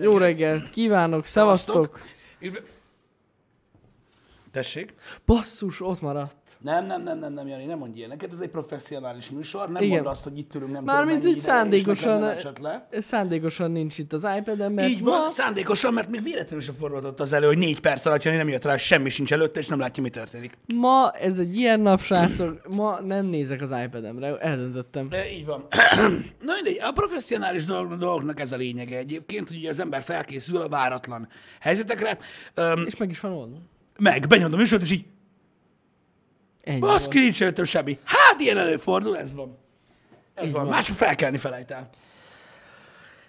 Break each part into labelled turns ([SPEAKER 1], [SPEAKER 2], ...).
[SPEAKER 1] Jó reggelt kívánok, szevasztok!
[SPEAKER 2] Üdv- Tessék?
[SPEAKER 1] Basszus, ott maradt.
[SPEAKER 2] Nem, nem, nem, nem, nem, Jani, nem mondj ilyeneket, ez egy professzionális műsor, nem
[SPEAKER 1] Igen.
[SPEAKER 2] mondd azt, hogy itt tőlünk nem tudom
[SPEAKER 1] Mármint
[SPEAKER 2] mennyi
[SPEAKER 1] így
[SPEAKER 2] ide, és nekem
[SPEAKER 1] szándékosan,
[SPEAKER 2] nem esett le.
[SPEAKER 1] szándékosan nincs itt az iPad-en, mert
[SPEAKER 2] Így van,
[SPEAKER 1] ma-
[SPEAKER 2] szándékosan, mert még véletlenül sem forgatott az elő, hogy négy perc alatt Jani nem jött rá, hogy semmi sincs előtte, és nem látja, mi történik.
[SPEAKER 1] Ma ez egy ilyen nap, srácok, ma nem nézek az iPad-emre, eldöntöttem.
[SPEAKER 2] E, így van. Na mindegy, a professzionális dolg- dolgoknak ez a lényege egyébként, hogy ugye az ember felkészül a váratlan helyzetekre. Öm,
[SPEAKER 1] És meg is van oldva.
[SPEAKER 2] meg, benyomtam a műsort, és így,
[SPEAKER 1] Ennyi
[SPEAKER 2] baszki, nincs előttem semmi. Hát, ilyen előfordul, ez van. Ez
[SPEAKER 1] Így
[SPEAKER 2] van.
[SPEAKER 1] van.
[SPEAKER 2] Mások felkelni felejtel.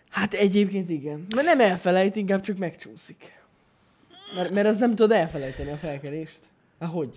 [SPEAKER 1] Hát egyébként igen. Mert nem elfelejt, inkább csak megcsúszik. Mert, mert az nem tudod elfelejteni a felkelést. Hát hogy?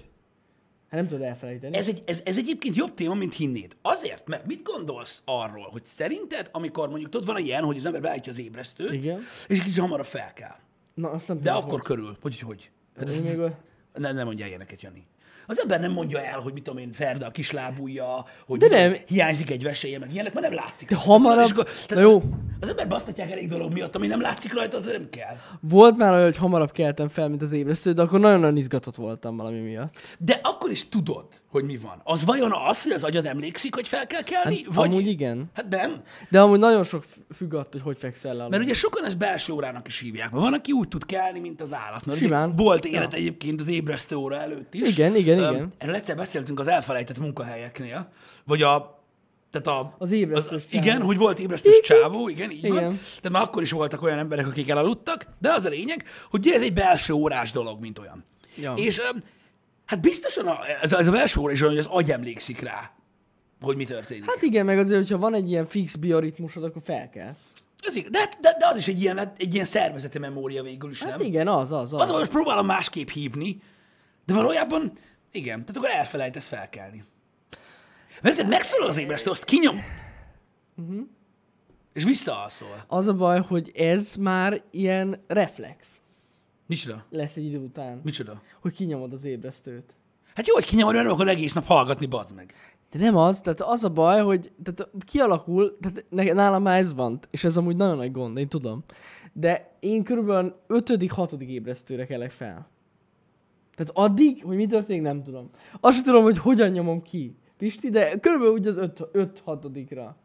[SPEAKER 1] Hát nem tudod elfelejteni.
[SPEAKER 2] Ez, egy, ez, ez egyébként jobb téma, mint hinnéd. Azért, mert mit gondolsz arról, hogy szerinted, amikor mondjuk tudod, van ilyen, hogy az ember beállítja az ébresztőt,
[SPEAKER 1] Igen.
[SPEAKER 2] és kicsit hamarabb fel kell.
[SPEAKER 1] Na, azt nem
[SPEAKER 2] De
[SPEAKER 1] tudom,
[SPEAKER 2] akkor körül, hogy hogy. Hát
[SPEAKER 1] hogy-
[SPEAKER 2] ez,
[SPEAKER 1] Még a-
[SPEAKER 2] ne, nem mondja ilyeneket, Jani. Az ember nem mondja el, hogy mit tudom én, ferde a kislábúja, hogy
[SPEAKER 1] De
[SPEAKER 2] mit tudom,
[SPEAKER 1] nem.
[SPEAKER 2] hiányzik egy veséje, meg ilyenek, mert nem látszik.
[SPEAKER 1] De
[SPEAKER 2] rajta.
[SPEAKER 1] hamarabb-
[SPEAKER 2] És
[SPEAKER 1] Na jó.
[SPEAKER 2] Az, az ember basztatják elég dolog miatt, ami nem látszik rajta, az nem kell.
[SPEAKER 1] Volt már olyan, hogy hamarabb keltem fel, mint az ébresztő, de akkor nagyon-nagyon izgatott voltam valami miatt.
[SPEAKER 2] De akkor is tudod, hogy mi van. Az vajon az, hogy az agyad emlékszik, hogy fel kell kelni?
[SPEAKER 1] Hát,
[SPEAKER 2] vagy...
[SPEAKER 1] amúgy igen.
[SPEAKER 2] Hát nem.
[SPEAKER 1] De amúgy nagyon sok f- függ attól, hogy hogy fekszel le.
[SPEAKER 2] Mert
[SPEAKER 1] aludni.
[SPEAKER 2] ugye sokan ezt belső órának is hívják. Mert van, aki úgy tud kelni, mint az állat. Mert ugye
[SPEAKER 1] Simán.
[SPEAKER 2] Volt élet egyébként az ébresztő óra előtt is.
[SPEAKER 1] Igen, igen,
[SPEAKER 2] Öm,
[SPEAKER 1] igen.
[SPEAKER 2] Erről egyszer beszéltünk az elfelejtett munkahelyeknél, vagy a tehát a,
[SPEAKER 1] Az ébresztős csávó.
[SPEAKER 2] Igen, hogy volt ébresztős csávó, igen, így igen. van.
[SPEAKER 1] Igen.
[SPEAKER 2] Tehát már akkor is voltak olyan emberek, akik elaludtak, de az a lényeg, hogy ugye ez egy belső órás dolog, mint olyan.
[SPEAKER 1] Ja.
[SPEAKER 2] És öm, hát biztosan a, ez, a, ez a belső óra is olyan, hogy az agy emlékszik rá, hogy mi történik.
[SPEAKER 1] Hát igen, meg azért, hogyha van egy ilyen fix bioritmusod, akkor felkelsz.
[SPEAKER 2] Ez igaz, de, de, de az is egy ilyen, egy ilyen szervezeti memória végül is,
[SPEAKER 1] Hát
[SPEAKER 2] nem?
[SPEAKER 1] igen, az, az, az.
[SPEAKER 2] Az, hogy most próbálom másképp hívni, de valójában igen, tehát akkor elfelejtesz felkelni. Mert te megszólal az ébresztő, azt kinyom. Mhm. És visszaalszol.
[SPEAKER 1] Az a baj, hogy ez már ilyen reflex
[SPEAKER 2] Micsoda?
[SPEAKER 1] lesz egy idő után,
[SPEAKER 2] Micsoda?
[SPEAKER 1] hogy kinyomod az ébresztőt.
[SPEAKER 2] Hát jó, hogy kinyomod, mert nem akar egész nap hallgatni, bazd meg.
[SPEAKER 1] De nem az, tehát az a baj, hogy tehát kialakul, tehát ne- nálam már ez van, és ez amúgy nagyon nagy gond, én tudom. De én körülbelül ötödik, hatodik ébresztőre kelek fel. Tehát addig, hogy mi történik, nem tudom. Azt sem tudom, hogy hogyan nyomom ki, Pisti, de körülbelül úgy az öt, öt hatodikra.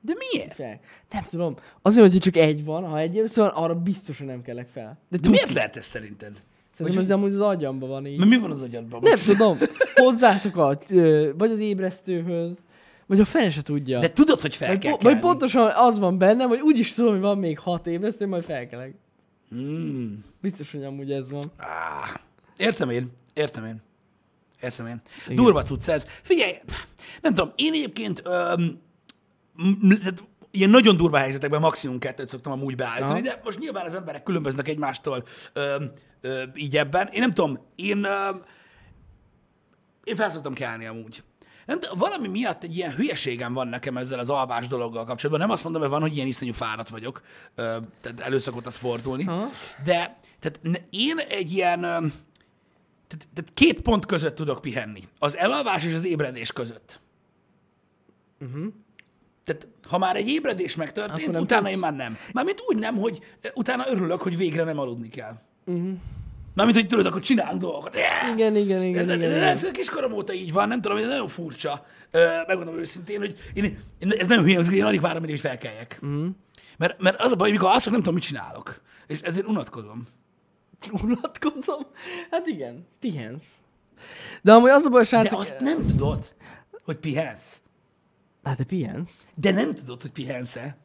[SPEAKER 2] De miért?
[SPEAKER 1] Te. Nem tudom. Azért, hogyha csak egy van, ha egy ébresztő van, arra biztosan nem kelek fel. De,
[SPEAKER 2] De
[SPEAKER 1] tud,
[SPEAKER 2] miért lehet ez szerinted?
[SPEAKER 1] szerintem ez amúgy az agyamban van így.
[SPEAKER 2] Mert mi van az agyadban?
[SPEAKER 1] Nem tudom. Hozzászok a, ö, vagy az ébresztőhöz, vagy a fene se tudja.
[SPEAKER 2] De tudod, hogy fel
[SPEAKER 1] Vagy,
[SPEAKER 2] kell
[SPEAKER 1] po- vagy
[SPEAKER 2] kelni.
[SPEAKER 1] pontosan az van bennem, hogy úgyis tudom, hogy van még hat ébresztő, majd felkelek.
[SPEAKER 2] Mm.
[SPEAKER 1] Biztos, hogy amúgy ez van.
[SPEAKER 2] Áh, értem én, értem én. Értem én. Igen. Durva cucc ez. Figyelj, nem tudom, én egyébként öm, m- m- tehát ilyen nagyon durva helyzetekben maximum kettőt szoktam amúgy beállítani,
[SPEAKER 1] Aha.
[SPEAKER 2] de most nyilván az emberek különböznek egymástól öm, ö, így ebben. Én nem tudom, én, öm, én fel szoktam kelni amúgy. Nem tudom, valami miatt egy ilyen hülyeségem van nekem ezzel az alvás dologgal kapcsolatban. Nem azt mondom, hogy van, hogy ilyen iszonyú fáradt vagyok. Ö, tehát elő szokott az fordulni.
[SPEAKER 1] Aha.
[SPEAKER 2] De tehát ne- én egy ilyen... öm, tehát, tehát két pont között tudok pihenni. Az elalvás és az ébredés között. Uh-huh. Tehát ha már egy ébredés megtörtént,
[SPEAKER 1] Mhm. Akkor nem
[SPEAKER 2] utána
[SPEAKER 1] tudsz.
[SPEAKER 2] én már nem. Mármint úgy nem, hogy eh, utána örülök, hogy végre nem aludni kell. Uh-huh. Mármint, hogy tudod, akkor csinálunk dolgokat. Yeah!
[SPEAKER 1] Mhm. Igen, igen, igen,
[SPEAKER 2] De-
[SPEAKER 1] igen.
[SPEAKER 2] de- de
[SPEAKER 1] igen.
[SPEAKER 2] Ez a kiskorom óta így van, nem tudom, ez nagyon furcsa. Ö, Megmondom őszintén, hogy én, én ez nagyon hülye, hangzik, én alig várom, hogy felkeljek.
[SPEAKER 1] Mhm.
[SPEAKER 2] Mm. Mert, mert az a baj, mikor alszok, nem tudom, mit csinálok. És ezért unatkozom.
[SPEAKER 1] Unatkozom. Hát igen, pihensz. De amúgy az a baj,
[SPEAKER 2] De
[SPEAKER 1] srácok...
[SPEAKER 2] azt nem tudod, hogy pihensz.
[SPEAKER 1] Hát de pihensz.
[SPEAKER 2] De nem tudod, hogy pihensz-e.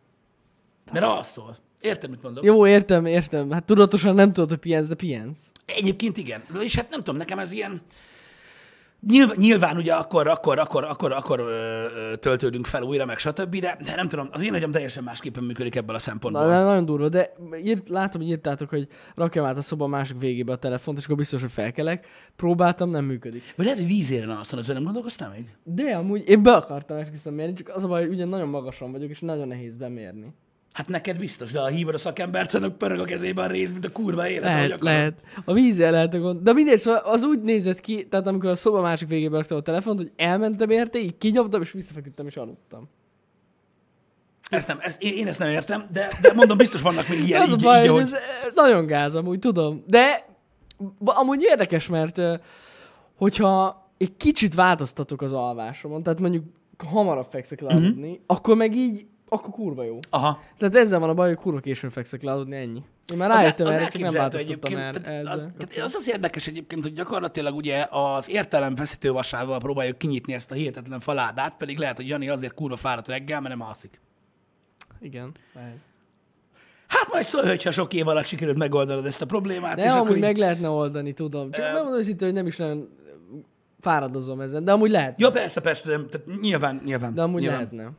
[SPEAKER 2] Mert alszol. Értem, mit mondom.
[SPEAKER 1] Jó, értem, értem. Hát tudatosan nem tudod, hogy pihensz, de pihensz.
[SPEAKER 2] Egyébként igen. És hát nem tudom, nekem ez ilyen... Nyilván, nyilván ugye akkor, akkor, akkor, akkor, akkor ö, ö, töltődünk fel újra, meg stb., de, de nem tudom, az én agyam teljesen másképpen működik ebből a
[SPEAKER 1] Na,
[SPEAKER 2] szempontból.
[SPEAKER 1] na, nagyon durva, de írt, látom, hogy írtátok, hogy rakjam át a szoba másik végébe a telefont, és akkor biztos, hogy felkelek. Próbáltam, nem működik.
[SPEAKER 2] Vagy lehet, hogy vízéren alszol, ezzel nem gondolkoztál még?
[SPEAKER 1] De amúgy én be akartam esküszöm mérni, csak az a baj, hogy ugye nagyon magasan vagyok, és nagyon nehéz bemérni.
[SPEAKER 2] Hát neked biztos, de ha hívod a szakembert, annak pörög a kezében a rész, mint a kurva élet. ahogy
[SPEAKER 1] Lehet,
[SPEAKER 2] akarod.
[SPEAKER 1] lehet. A vízzel lehet a gond. De mindegy, szóval az úgy nézett ki, tehát amikor a szoba másik végébe raktam a telefont, hogy elmentem érte, így kinyomtam, és visszafeküdtem, és aludtam.
[SPEAKER 2] Ezt nem, ezt, én, én ezt nem értem, de, de mondom, biztos vannak még ilyen,
[SPEAKER 1] az a
[SPEAKER 2] így,
[SPEAKER 1] baj,
[SPEAKER 2] így,
[SPEAKER 1] hogy
[SPEAKER 2] ahogy...
[SPEAKER 1] ez eh, nagyon gáz, amúgy tudom. De b- amúgy érdekes, mert eh, hogyha egy kicsit változtatok az alvásomon, tehát mondjuk hamarabb fekszek
[SPEAKER 2] Mhm.
[SPEAKER 1] lealudni, akkor meg így, akkor kurva jó.
[SPEAKER 2] Aha.
[SPEAKER 1] Tehát ezzel van a baj, hogy kurva későn fekszek lealudni, ennyi. Én már
[SPEAKER 2] Az-
[SPEAKER 1] rájöttem
[SPEAKER 2] az
[SPEAKER 1] erre, csak nem
[SPEAKER 2] elképzelhető
[SPEAKER 1] változtattam már
[SPEAKER 2] egyébként. Tehát
[SPEAKER 1] ezzel.
[SPEAKER 2] az, tehát az, az érdekes egyébként, hogy gyakorlatilag ugye az értelemfeszítő vasával próbáljuk kinyitni ezt a hihetetlen faládát, pedig lehet, hogy Jani azért kurva fáradt reggel, mert nem alszik.
[SPEAKER 1] Igen. lehet.
[SPEAKER 2] Hát majd szól, hogyha sok év alatt sikerült megoldanod ezt a problémát, Hát és
[SPEAKER 1] De
[SPEAKER 2] akkor
[SPEAKER 1] amúgy
[SPEAKER 2] így...
[SPEAKER 1] meg lehetne oldani, tudom. Csak megmondom őszintén, hogy nem is nagyon fáradozom ezen, de amúgy lehet.
[SPEAKER 2] Ja, persze, persze, de, tehát nyilván, nyilván.
[SPEAKER 1] De amúgy
[SPEAKER 2] nyilván.
[SPEAKER 1] lehetne.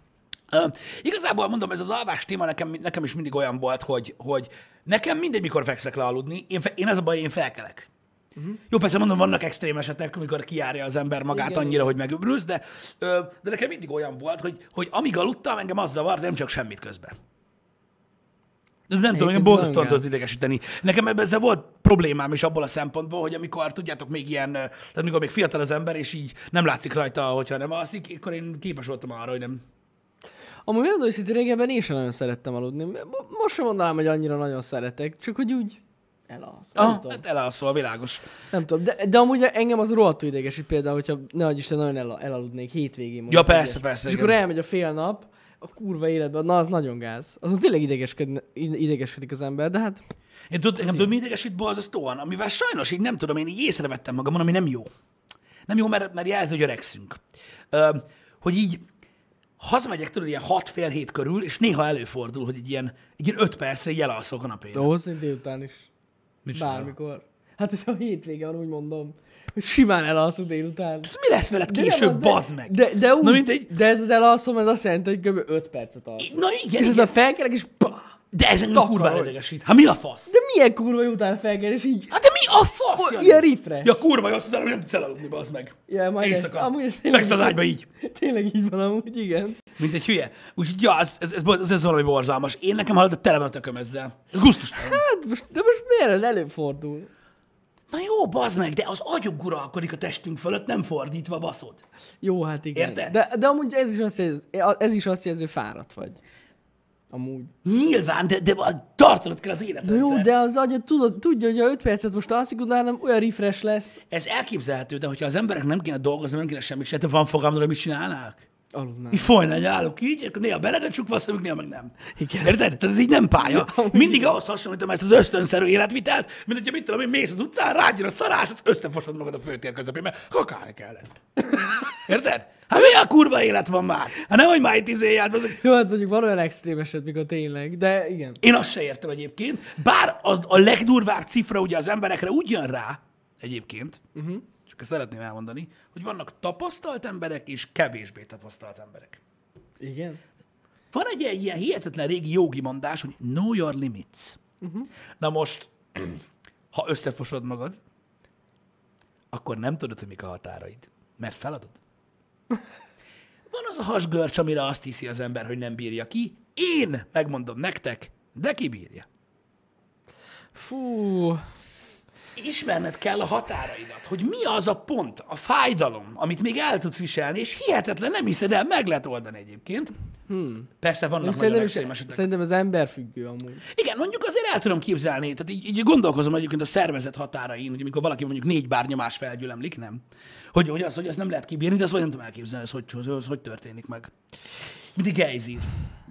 [SPEAKER 2] Ö, igazából mondom, ez az alvás téma nekem, nekem is mindig olyan volt, hogy, hogy nekem mindegy, mikor fekszek le aludni, én, fe, én ez a baj, én felkelek.
[SPEAKER 1] Mhm.
[SPEAKER 2] Uh-huh. Jó, persze mondom, vannak extrém esetek, amikor kiárja az ember magát
[SPEAKER 1] Igen,
[SPEAKER 2] Igen, annyira, hogy megöbrülsz, de, ö, de nekem mindig olyan volt, hogy, hogy amíg aludtam, engem az zavart, nem csak semmit közben. Ez nem tudom, engem
[SPEAKER 1] nagyon
[SPEAKER 2] borzasztóan
[SPEAKER 1] gáz.
[SPEAKER 2] tudott idegesíteni. Nekem ebben ezzel volt problémám is abból a szempontból, hogy amikor, tudjátok, még ilyen, ö, tehát amikor még fiatal az ember, és így nem látszik rajta, hogyha nem alszik, akkor én képes voltam arra, hogy nem,
[SPEAKER 1] Amúgy megmondom őszintén, régebben én sem nagyon szerettem aludni. Mo- Most sem mondanám, hogy annyira nagyon szeretek, csak hogy úgy elalszom. nem,
[SPEAKER 2] Ah,
[SPEAKER 1] tudom,
[SPEAKER 2] hát elalszol, világos.
[SPEAKER 1] nem tudom, de, de amúgy engem az rohadtul idegesít például, hogyha ne adj Isten, nagyon el, elaludnék hétvégén. mondjuk,
[SPEAKER 2] persze,
[SPEAKER 1] ugye.
[SPEAKER 2] persze,
[SPEAKER 1] És
[SPEAKER 2] igen.
[SPEAKER 1] akkor elmegy a fél nap, a kurva életben, na az nagyon gáz. Azon tényleg idegeskedne- ide- idegeskedik az ember, de hát
[SPEAKER 2] Én tud, engem tudom, mi idegesít borzasztóan, amivel sajnos így nem tudom, én így észrevettem magamon, ami nem jó. Nem jó, mert, mert jelzi, hogy öregszünk. Ö, hogy így hazamegyek tudod, ilyen hat fél hét körül, és néha előfordul, hogy egy ilyen, egy ilyen öt percre így elalszok a napén.
[SPEAKER 1] ahhoz én délután is.
[SPEAKER 2] Mit csinál?
[SPEAKER 1] Bármikor. Hát, hogyha a hétvége van, úgy mondom, hogy simán elalszom délután.
[SPEAKER 2] Mi lesz veled
[SPEAKER 1] De nem
[SPEAKER 2] később,
[SPEAKER 1] az, de-
[SPEAKER 2] bazd meg?
[SPEAKER 1] De, de, úgy,
[SPEAKER 2] Na mindegy.
[SPEAKER 1] de ez az elalszom, ez azt jelenti, hogy kb. 5 percet alszom.
[SPEAKER 2] Na igen,
[SPEAKER 1] És
[SPEAKER 2] igen.
[SPEAKER 1] aztán felkelek, és pá!
[SPEAKER 2] de ez engem
[SPEAKER 1] Takar
[SPEAKER 2] kurvára
[SPEAKER 1] vagy.
[SPEAKER 2] idegesít. Hát mi a fasz?
[SPEAKER 1] De milyen kurva jó után felkel, és így...
[SPEAKER 2] Hát de mi a fasz? Jani?
[SPEAKER 1] ilyen riffre.
[SPEAKER 2] Ja, kurva, jó, azt mondod, hogy nem tudsz elaludni, bazd meg.
[SPEAKER 1] Ja, majd ez,
[SPEAKER 2] Éjszaka.
[SPEAKER 1] amúgy ez tényleg,
[SPEAKER 2] Feksz az ágyba így.
[SPEAKER 1] tényleg így van amúgy, igen.
[SPEAKER 2] Mint egy hülye. Úgyhogy, ja, ez, ez, ez, ez, ez valami borzalmas. Én nekem halad, tele van a tököm ezzel. Ez gusztustalan.
[SPEAKER 1] Hát, most, de most miért ez előfordul?
[SPEAKER 2] Na jó, bazd meg, de az agyunk uralkodik a testünk fölött, nem fordítva baszod.
[SPEAKER 1] Jó, hát igen.
[SPEAKER 2] Érted?
[SPEAKER 1] De, de amúgy ez is azt jelzi, ez is azt jelzi, hogy fáradt vagy. Amúgy.
[SPEAKER 2] Nyilván, de, de tartanod kell az életet.
[SPEAKER 1] Na jó, de az agyad tudod, tudja, hogy a 5 percet most alszik, utána olyan refresh lesz.
[SPEAKER 2] Ez elképzelhető, de hogyha az emberek nem kéne dolgozni, nem kéne semmit se, van fogalmad, hogy mit csinálnák?
[SPEAKER 1] Aludnál.
[SPEAKER 2] Így folyna egy állok így, akkor néha belerecsukva a szemük, néha meg nem.
[SPEAKER 1] Igen.
[SPEAKER 2] Érted? Tehát ez így nem pálya. Mindig ahhoz hasonlítom ezt az ösztönszerű életvitelt, mint hogyha mit tudom én, mész az utcán, rágyjön a szarás, azt összefosod magad a főtér közepén, mert kakálni kellett. Érted? Hát mi a kurva élet van már? Hát nem, hogy már itt izé járt, bazeg.
[SPEAKER 1] Jó, hát mondjuk van olyan extrém eset, mikor tényleg, de igen.
[SPEAKER 2] Én azt se értem egyébként, bár a, a legdurvább cifra ugye az emberekre úgy jön rá, egyébként, uh-huh. csak ezt szeretném elmondani, hogy vannak tapasztalt emberek és kevésbé tapasztalt emberek.
[SPEAKER 1] Igen?
[SPEAKER 2] Van egy ilyen- ilyen hihetetlen régi jogi mondás, hogy know your limits.
[SPEAKER 1] Mhm.
[SPEAKER 2] Uh-huh. Na most, ha összefosod magad, akkor nem tudod, hogy mik a határaid, mert feladod. Van az a hasgörcs, amire azt hiszi az ember, hogy nem bírja ki. Én megmondom nektek, de kibírja.
[SPEAKER 1] Fú,
[SPEAKER 2] ismerned kell a határaidat, hogy mi az a pont, a fájdalom, amit még el tudsz viselni, és hihetetlen, nem hiszed el, meg lehet oldani egyébként. Hmm. Persze vannak nagyon
[SPEAKER 1] szerintem, is,
[SPEAKER 2] extrém esetek.
[SPEAKER 1] szerintem ez emberfüggő amúgy.
[SPEAKER 2] Igen, mondjuk azért el tudom képzelni, tehát így, így gondolkozom egyébként a szervezet határain, hogy amikor valaki mondjuk négy bár nyomás felgyülemlik, nem? Hogy, hogy az, hogy ezt nem lehet kibírni, de azt vagy nem tudom elképzelni, ez hogy, az, hogy történik meg. Mint egy gejzír,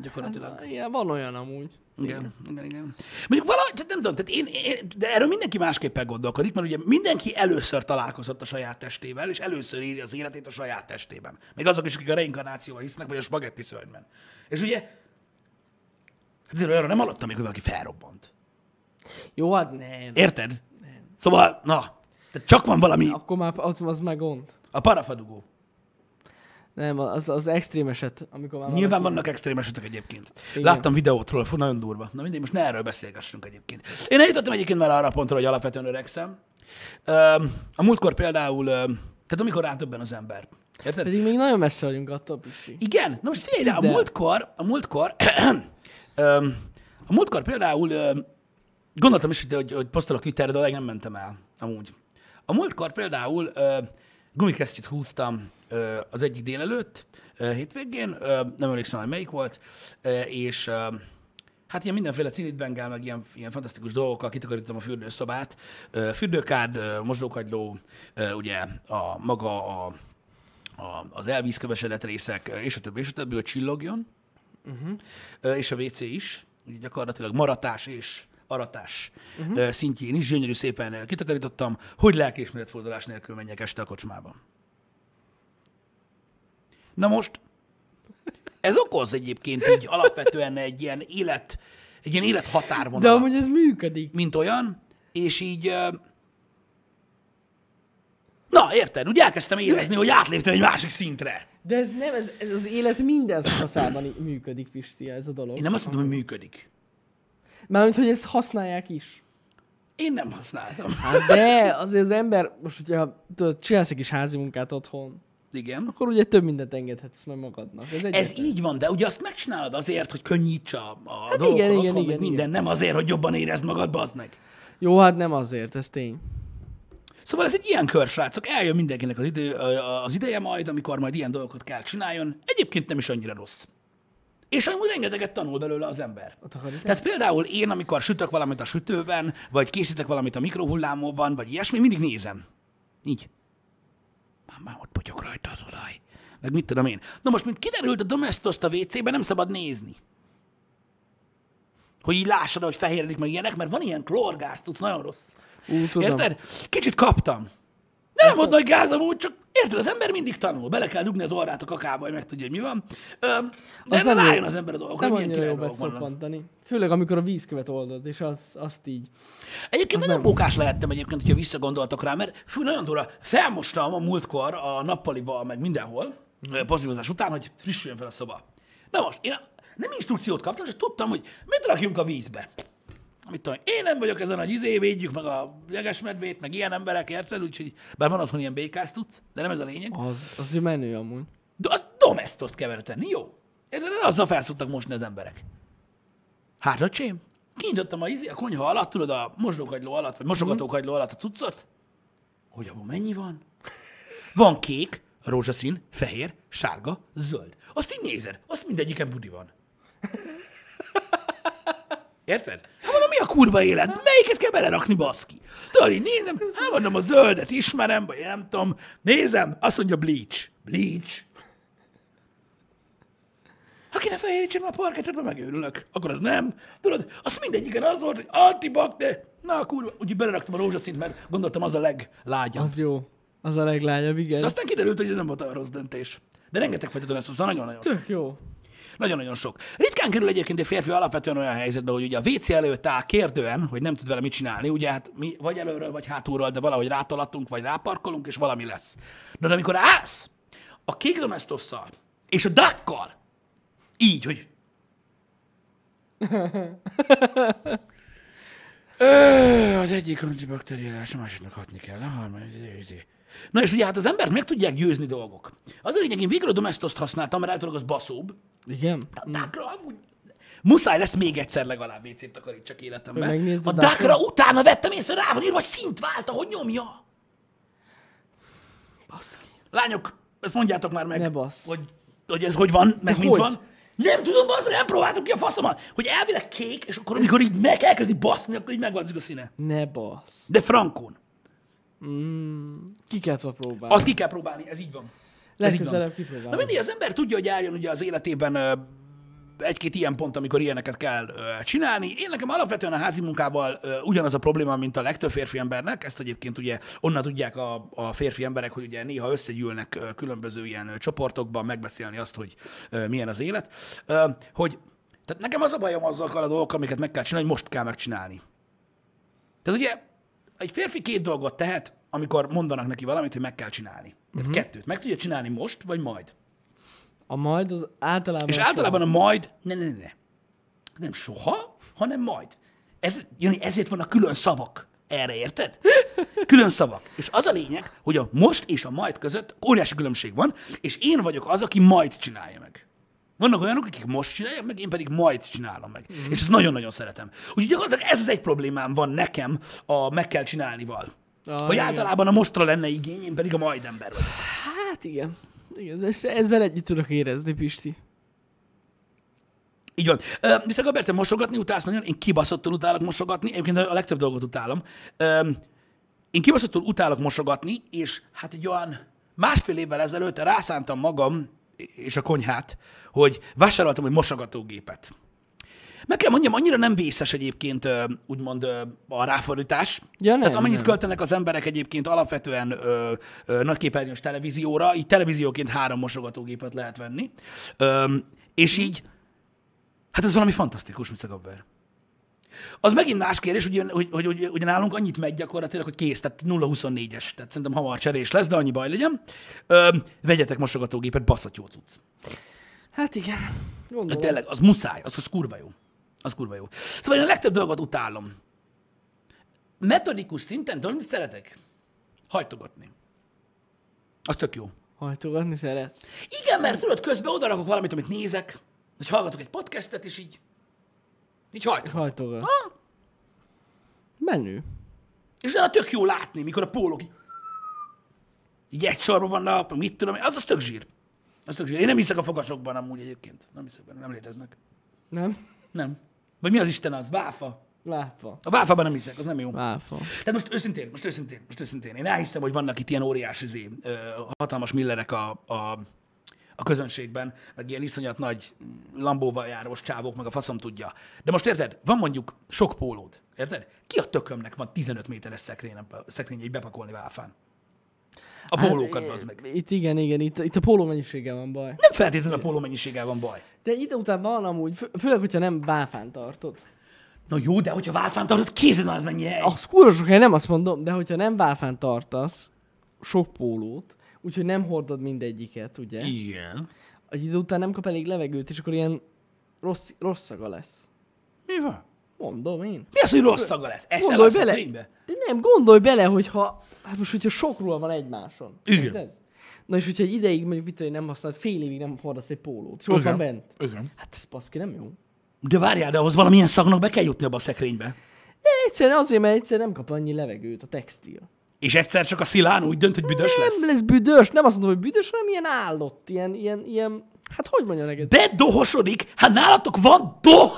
[SPEAKER 2] gyakorlatilag.
[SPEAKER 1] Hát, Igen, van olyan amúgy.
[SPEAKER 2] Igen, igen, igen. Mondjuk valahogy, tehát nem tudom, tehát én, én, de erről mindenki másképpen gondolkodik, mert ugye mindenki először találkozott a saját testével, és először írja az életét a saját testében. Még azok is, akik a reinkarnációval hisznek, vagy a spagetti szörnyben. És ugye, hát azért arra nem hallottam még, hogy valaki felrobbant.
[SPEAKER 1] Jó, hát nem.
[SPEAKER 2] Érted? Szóval, na, tehát csak van valami,
[SPEAKER 1] Akkor már az, az már gond.
[SPEAKER 2] a parafadugó.
[SPEAKER 1] Nem, az, az extrém eset, amikor már
[SPEAKER 2] Nyilván vannak extrém esetek egyébként.
[SPEAKER 1] Igen.
[SPEAKER 2] Igen. Láttam videótról, fú, nagyon durva. Na mindegy, most ne erről beszélgessünk egyébként. Én eljutottam egyébként már arra a pontra, hogy alapvetően öregszem. Öm, A múltkor például, öm, tehát amikor rátöbben az ember. Érted?
[SPEAKER 1] Pedig még nagyon messze vagyunk attól, Pisti.
[SPEAKER 2] Igen, na most figyelj, rá, a
[SPEAKER 1] De.
[SPEAKER 2] múltkor, a múltkor, öm, a múltkor például öm, gondoltam is, hogy, hogy, hogy posztolok Twitterre, de nem mentem el, amúgy. A múltkor például ö, gumikesztyűt húztam ö, az egyik délelőtt, ö, hétvégén, ö, nem emlékszem, hogy melyik volt, ö, és ö, hát ilyen mindenféle cinitbengál, meg ilyen, ilyen fantasztikus dolgokkal kitakarítom a fürdőszobát. Ö, fürdőkád, ö, mosdókagyló, ö, ugye a maga a, a, az elvízkövesedett részek, ö, és a többi, és a többi, hogy csillogjon.
[SPEAKER 1] Mhm.
[SPEAKER 2] Ö, és a WC is, ugye gyakorlatilag maratás és aratás
[SPEAKER 1] Mhm.
[SPEAKER 2] uh-huh. szintjén is gyönyörű szépen ö, kitakarítottam, hogy lelkiismeretfordulás nélkül menjek este a kocsmába. Na most, ez okoz egyébként így alapvetően egy ilyen élet, egy ilyen
[SPEAKER 1] De
[SPEAKER 2] élethatárvonalat,
[SPEAKER 1] amúgy ez működik.
[SPEAKER 2] mint olyan, és így... ö, Na, érted? Úgy elkezdtem érezni, hogy átléptem egy másik szintre.
[SPEAKER 1] De ez nem, ez, ez az élet minden szakaszában í- működik, Pisti, ez a dolog.
[SPEAKER 2] Én nem azt mondom, hogy működik.
[SPEAKER 1] Mármint, hogy ezt használják is.
[SPEAKER 2] Én nem használtam.
[SPEAKER 1] Hát de azért az ember, most hogyha tudod, csinálsz egy kis házi munkát otthon,
[SPEAKER 2] Igen.
[SPEAKER 1] akkor ugye több mindent engedhetsz meg magadnak.
[SPEAKER 2] Ez
[SPEAKER 1] Ez, egyetlen.
[SPEAKER 2] így van, de ugye azt megcsinálod azért, hogy könnyítsa a hát
[SPEAKER 1] igen,
[SPEAKER 2] dolgokat, igen,
[SPEAKER 1] igen,
[SPEAKER 2] otthon, igen,
[SPEAKER 1] igen,
[SPEAKER 2] minden, nem azért, hogy jobban érezd magad, bazd meg.
[SPEAKER 1] Jó, hát nem azért, ez tény.
[SPEAKER 2] Szóval ez egy ilyen kör, srácok, eljön mindenkinek az, idő, az ideje majd, amikor majd ilyen dolgokat kell csináljon. Egyébként nem is annyira rossz. És amúgy rengeteget tanul belőle az ember.
[SPEAKER 1] A takarítás?
[SPEAKER 2] Tehát például én, amikor sütök valamit a sütőben, vagy készítek valamit a mikrohullámóban, vagy ilyesmi, mindig nézem. Így. Már, már ott potyog rajta az olaj. Meg mit tudom én. Na most, mint kiderült, a domestoszt a WC-ben nem szabad nézni. Hogy így lássad, hogy fehéredik meg ilyenek, mert van ilyen klorgáz, tudsz, nagyon rossz.
[SPEAKER 1] Ú, tudom.
[SPEAKER 2] Érted? Kicsit kaptam. De nem volt nagy gázam úgy, csak érted, az ember mindig tanul. Bele kell dugni az orrát a kakába, hogy megtudja, hogy mi van. Öm, De
[SPEAKER 1] Az
[SPEAKER 2] nem
[SPEAKER 1] nem jó.
[SPEAKER 2] rájön az ember a dolgokra,
[SPEAKER 1] Nem
[SPEAKER 2] hogy milyen
[SPEAKER 1] annyira
[SPEAKER 2] király
[SPEAKER 1] jó
[SPEAKER 2] dolgok vannak.
[SPEAKER 1] beszoppantani. Főleg, amikor a vízkövet oldod, és az, azt így.
[SPEAKER 2] Egyébként nagyon bókás lehettem egyébként, hogyha visszagondoltok rá, mert fú, nagyon durva, felmostam a múltkor a nappalival, meg mindenhol, mm. pozitívozás után, hogy frissüljön fel a szoba. Na most, én nem instrukciót kaptam, csak tudtam, hogy mit rakjunk a vízbe. Mit tudom, én nem vagyok ezen a izé, védjük meg a jegesmedvét, meg ilyen emberek, érted? Úgyhogy, bár van otthon ilyen békázt tudsz, de nem ez a lényeg.
[SPEAKER 1] Az, az ő menő amúgy.
[SPEAKER 2] De a domestoszt keverteni, jó. Érted? Azzal felszoktak mosni az emberek. Hát, öcsém, kinyitottam a, izé, a konyha alatt, tudod, a mosdókagyló alatt, vagy mosogatókagyló alatt a cuccot, hogy abban mennyi van? Van kék, rózsaszín, fehér, sárga, zöld. Azt így nézed, azt mindegyiken budi van. Érted? Hát mondom, mi a kurva élet? Melyiket kell belerakni, baszki? Tudod, így nézem, hát mondom, a zöldet ismerem, vagy nem tudom. Nézem, azt mondja bleach. Bleach? Ha kéne fehérítsen a parkettet, mert megőrülök. Akkor az nem. Tudod, azt mindegyiken az volt, hogy antibakter. Na kurva, úgyhogy beleraktam a rózsaszint, mert gondoltam az a leglágyabb.
[SPEAKER 1] Az jó. Az a leglányabb, igen.
[SPEAKER 2] De aztán kiderült, hogy ez nem volt olyan rossz döntés. De rengeteg fajta döntés, szóval nagyon-nagyon
[SPEAKER 1] Tök jó.
[SPEAKER 2] nagyon-nagyon sok. Ritkán kerül egyébként egy férfi alapvetően olyan helyzetbe, hogy ugye a WC előtt áll kérdően, hogy nem tud vele mit csinálni, ugye hát mi vagy előről, vagy hátulról, de valahogy rátolattunk, vagy ráparkolunk, és valami lesz. Na de amikor állsz a kék domestosszal és a dakkal, így, hogy Ö, az egyik antibakteriális, a másiknak hatni kell, a harmadik, izé. Na és ugye hát az embert meg tudják győzni dolgok. Az a lényeg, én végül a domestoszt használtam, mert általában az baszóbb,
[SPEAKER 1] Igen?
[SPEAKER 2] a dákra amúgy... Muszáj lesz még egyszer legalább WC-t takarítsak
[SPEAKER 1] Hogy
[SPEAKER 2] életemben.
[SPEAKER 1] megnézd
[SPEAKER 2] A
[SPEAKER 1] a
[SPEAKER 2] dákra
[SPEAKER 1] dákra?
[SPEAKER 2] utána vettem észre, rá van írva, hogy szint vált, ahogy nyomja.
[SPEAKER 1] Baszki.
[SPEAKER 2] Lányok, ezt mondjátok már meg,
[SPEAKER 1] Ne bassz.
[SPEAKER 2] Hogy, hogy ez hogy van, meg mint
[SPEAKER 1] hogy?
[SPEAKER 2] van. Nem tudom, az, hogy nem próbáltam ki a faszomat, hogy elvileg kék, és akkor amikor így meg elkezdi baszni, akkor így megváltozik a színe.
[SPEAKER 1] Ne basz. Mm.
[SPEAKER 2] De frankon.
[SPEAKER 1] Ki kell tudva próbálni.
[SPEAKER 2] Azt ki kell próbálni, ez így van. Ez így van.
[SPEAKER 1] Legközelebb
[SPEAKER 2] Na
[SPEAKER 1] kipróbálom.
[SPEAKER 2] mindig az ember tudja, hogy eljön ugye az életében ö, egy-két ilyen pont, amikor ilyeneket kell ö, csinálni. Én nekem alapvetően a házi munkával ö, ugyanaz a probléma, mint a legtöbb férfi embernek. Ezt egyébként ugye onnan tudják a, a férfi emberek, hogy ugye néha összegyűlnek ö, különböző ilyen ö, csoportokban megbeszélni azt, hogy ö, milyen az élet. Ö, hogy tehát nekem az a bajom azokkal a dolgokkal, amiket meg kell csinálni, hogy most kell megcsinálni. Tehát ugye egy férfi két dolgot tehet, amikor mondanak neki valamit, hogy meg kell csinálni. Tehát uh-huh. kettőt. Meg tudja csinálni most, vagy majd.
[SPEAKER 1] A majd az általában...
[SPEAKER 2] És
[SPEAKER 1] a
[SPEAKER 2] általában a majd, ne, ne, ne, ne. Nem soha, hanem majd. Ez, Jani, ezért vannak külön szavak. Erre érted? Külön szavak. És az a lényeg, hogy a most és a majd között óriási különbség van, és én vagyok az, aki majd csinálja meg. Vannak olyanok, akik most csinálják meg, én pedig majd csinálom meg. Mm. És ezt nagyon-nagyon szeretem. Úgyhogy gyakorlatilag ez az egy problémám van nekem a meg kell csinálnival.
[SPEAKER 1] Ah,
[SPEAKER 2] Hogy általában a mostra lenne igény, én pedig a majdember vagyok.
[SPEAKER 1] Hát igen. igen. ezt- Ezzel együtt tudok érezni, Pisti.
[SPEAKER 2] Így van. Ö, Viszont Gaber, te mosogatni utálsz nagyon, én kibaszottul utálok mosogatni, egyébként a legtöbb dolgot utálom. Ö, Én kibaszottul utálok mosogatni, és hát egy olyan másfél évvel ezelőtt rászántam magam és a konyhát, hogy vásároltam egy mosogatógépet. Meg kell mondjam, annyira nem vészes egyébként ö, úgymond ö, a ráfordítás.
[SPEAKER 1] Ja, nem,
[SPEAKER 2] Tehát amennyit
[SPEAKER 1] nem.
[SPEAKER 2] költenek az emberek egyébként alapvetően ö, ö, nagyképernyős televízióra, így televízióként három mosogatógépet lehet venni. Ö, és így, hát ez valami fantasztikus, Mr. Gabber. Az megint más kérdés, ugye, hogy, hogy, hogy, hogy nálunk annyit megy gyakorlatilag, hogy kész, tehát 0-24-es, tehát szerintem hamar cserés lesz, de annyi baj legyen. Ö, vegyetek mosogatógépet, baszat jó cucc.
[SPEAKER 1] Hát igen.
[SPEAKER 2] De
[SPEAKER 1] Gondolom.
[SPEAKER 2] tényleg, az muszáj, az, az kurva jó. Az kurva jó. Szóval én a legtöbb dolgot utálom. Metodikus szinten, tudom, mit szeretek? Hajtogatni. Az tök jó.
[SPEAKER 1] Hajtogatni szeretsz.
[SPEAKER 2] Igen, mert tudod, közben odarakok valamit, amit nézek, vagy hallgatok egy podcastet, és így, így hajtogatom.
[SPEAKER 1] Hajtogat.
[SPEAKER 2] Ah!
[SPEAKER 1] Menő.
[SPEAKER 2] És utána tök jó látni, mikor a pólók így, így egy sorban vannak, mit tudom, én, az az tök zsír. Az tök zsír. Én nem hiszek a fogasokban amúgy egyébként. Nem hiszek benne, nem léteznek.
[SPEAKER 1] Nem?
[SPEAKER 2] Nem. Vagy mi az Isten az? Váfa.
[SPEAKER 1] Lápa.
[SPEAKER 2] A váfában nem hiszek, az nem jó.
[SPEAKER 1] Lápa.
[SPEAKER 2] Tehát most őszintén, most őszintén, most őszintén. Én elhiszem, hogy vannak itt ilyen óriási zé, ö, hatalmas millerek a, a, a közönségben, meg ilyen iszonyat nagy lambóval járós csávók, meg a faszom tudja. De most érted, van mondjuk sok pólód, érted? Ki a tökömnek van 15 méteres szekrényen- szekrényei bepakolni válfán? A
[SPEAKER 1] Hát,
[SPEAKER 2] pólókat az meg.
[SPEAKER 1] Itt igen, igen, itt, itt a póló mennyiséggel van baj.
[SPEAKER 2] Nem feltétlenül a póló mennyiséggel van baj.
[SPEAKER 1] De ide után van amúgy, fő, főleg, hogyha nem báfán tartod.
[SPEAKER 2] Na jó, de hogyha válfán tartod, képzeld már, az mennyi hely.
[SPEAKER 1] Az kurva sok hely, nem azt mondom, de hogyha nem báfán tartasz sok pólót, úgyhogy nem hordod mindegyiket, ugye?
[SPEAKER 2] Igen.
[SPEAKER 1] Egy idő után nem kap elég levegőt, és akkor ilyen rossz, rossz szaga lesz.
[SPEAKER 2] Mi van?
[SPEAKER 1] Mondom én.
[SPEAKER 2] Mi az, hogy rossz szaga lesz? Eszel
[SPEAKER 1] Gondolj
[SPEAKER 2] a
[SPEAKER 1] bele.
[SPEAKER 2] szekrénybe?
[SPEAKER 1] De nem, gondolj bele, hogyha, hát most, hogyha sokról van egymáson.
[SPEAKER 2] Igen.
[SPEAKER 1] érted? Na és hogyha egy ideig, mondjuk mit tudom én, nem használod, fél évig nem hordasz egy pólót, és ott van bent.
[SPEAKER 2] Igen.
[SPEAKER 1] Hát ez baszki nem jó.
[SPEAKER 2] De várjál, de ahhoz valamilyen szagnak be kell jutni abba a szekrénybe.
[SPEAKER 1] De egyszerűen azért, mert egyszerűen nem kap annyi levegőt a textil.
[SPEAKER 2] És egyszer csak a szilán úgy dönt, hogy büdös
[SPEAKER 1] Nem
[SPEAKER 2] lesz.
[SPEAKER 1] lesz büdös, nem azt mondom, hogy büdös, hanem ilyen állott, ilyen, ilyen, ilyen, hát hogy mondjam neked?
[SPEAKER 2] Bedohosodik? Hát nálatok van doh!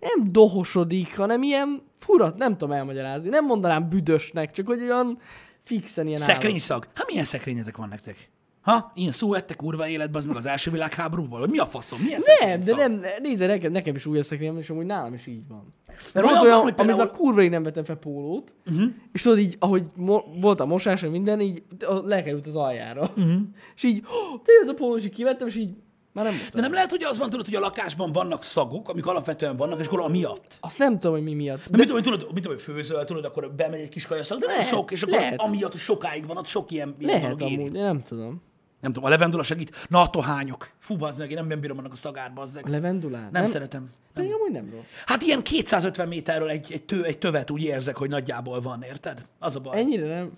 [SPEAKER 1] Nem dohosodik, hanem ilyen furat, nem tudom elmagyarázni. Nem mondanám büdösnek, csak hogy olyan fixen ilyen állott.
[SPEAKER 2] Szekrényszag. Hát milyen szekrényetek van nektek? Ha? Ilyen szó ettek kurva életbe, az meg az első világháborúval? Vagy Mi a faszom? Milyen
[SPEAKER 1] Nem, de
[SPEAKER 2] szekrényszag?
[SPEAKER 1] nem, nézd, nekem, nekem is új a szekrényem, és amúgy nálam is így van.
[SPEAKER 2] Mert
[SPEAKER 1] Mert volt
[SPEAKER 2] olyan
[SPEAKER 1] olyan,
[SPEAKER 2] van, hogy
[SPEAKER 1] van,
[SPEAKER 2] például-
[SPEAKER 1] például...
[SPEAKER 2] Mhm.
[SPEAKER 1] amikor kurva rég nem vettem fel pólót, uh-huh. és tudod így, ahogy mo- volt a mosás, meg minden, így a- lekerült az aljára. Uh-huh. És így, oh, tényleg ez a póló, és így kivettem, és így már nem
[SPEAKER 2] Mhm. De
[SPEAKER 1] voltam.
[SPEAKER 2] nem lehet, hogy az van, tudod, hogy a lakásban vannak szagok, amik alapvetően vannak, és akkor amiatt.
[SPEAKER 1] Azt nem tudom, hogy mi miatt.
[SPEAKER 2] De... Mit tudom, hogy tudod, mit tudom, hogy főzöl, tudod, akkor bemegy egy kis kajaszag, de lehet,
[SPEAKER 1] Lehet,
[SPEAKER 2] sok, és akkor
[SPEAKER 1] lehet.
[SPEAKER 2] amiatt, hogy sokáig van ott, sok ilyen, ilyen
[SPEAKER 1] Lehet
[SPEAKER 2] dolog éri.
[SPEAKER 1] amúgy, én nem tudom.
[SPEAKER 2] Nem tudom, a levendula segít. Na, a tohányok. Fú, bazd meg, én nem, nem bírom annak a szagát, bazd meg.
[SPEAKER 1] A levendulát?
[SPEAKER 2] Nem, nem szeretem.
[SPEAKER 1] De amúgy nem rossz.
[SPEAKER 2] Hát ilyen 250 méterről egy, egy, tő, egy tövet úgy érzek, hogy nagyjából van, érted? Az a baj.
[SPEAKER 1] Ennyire nem.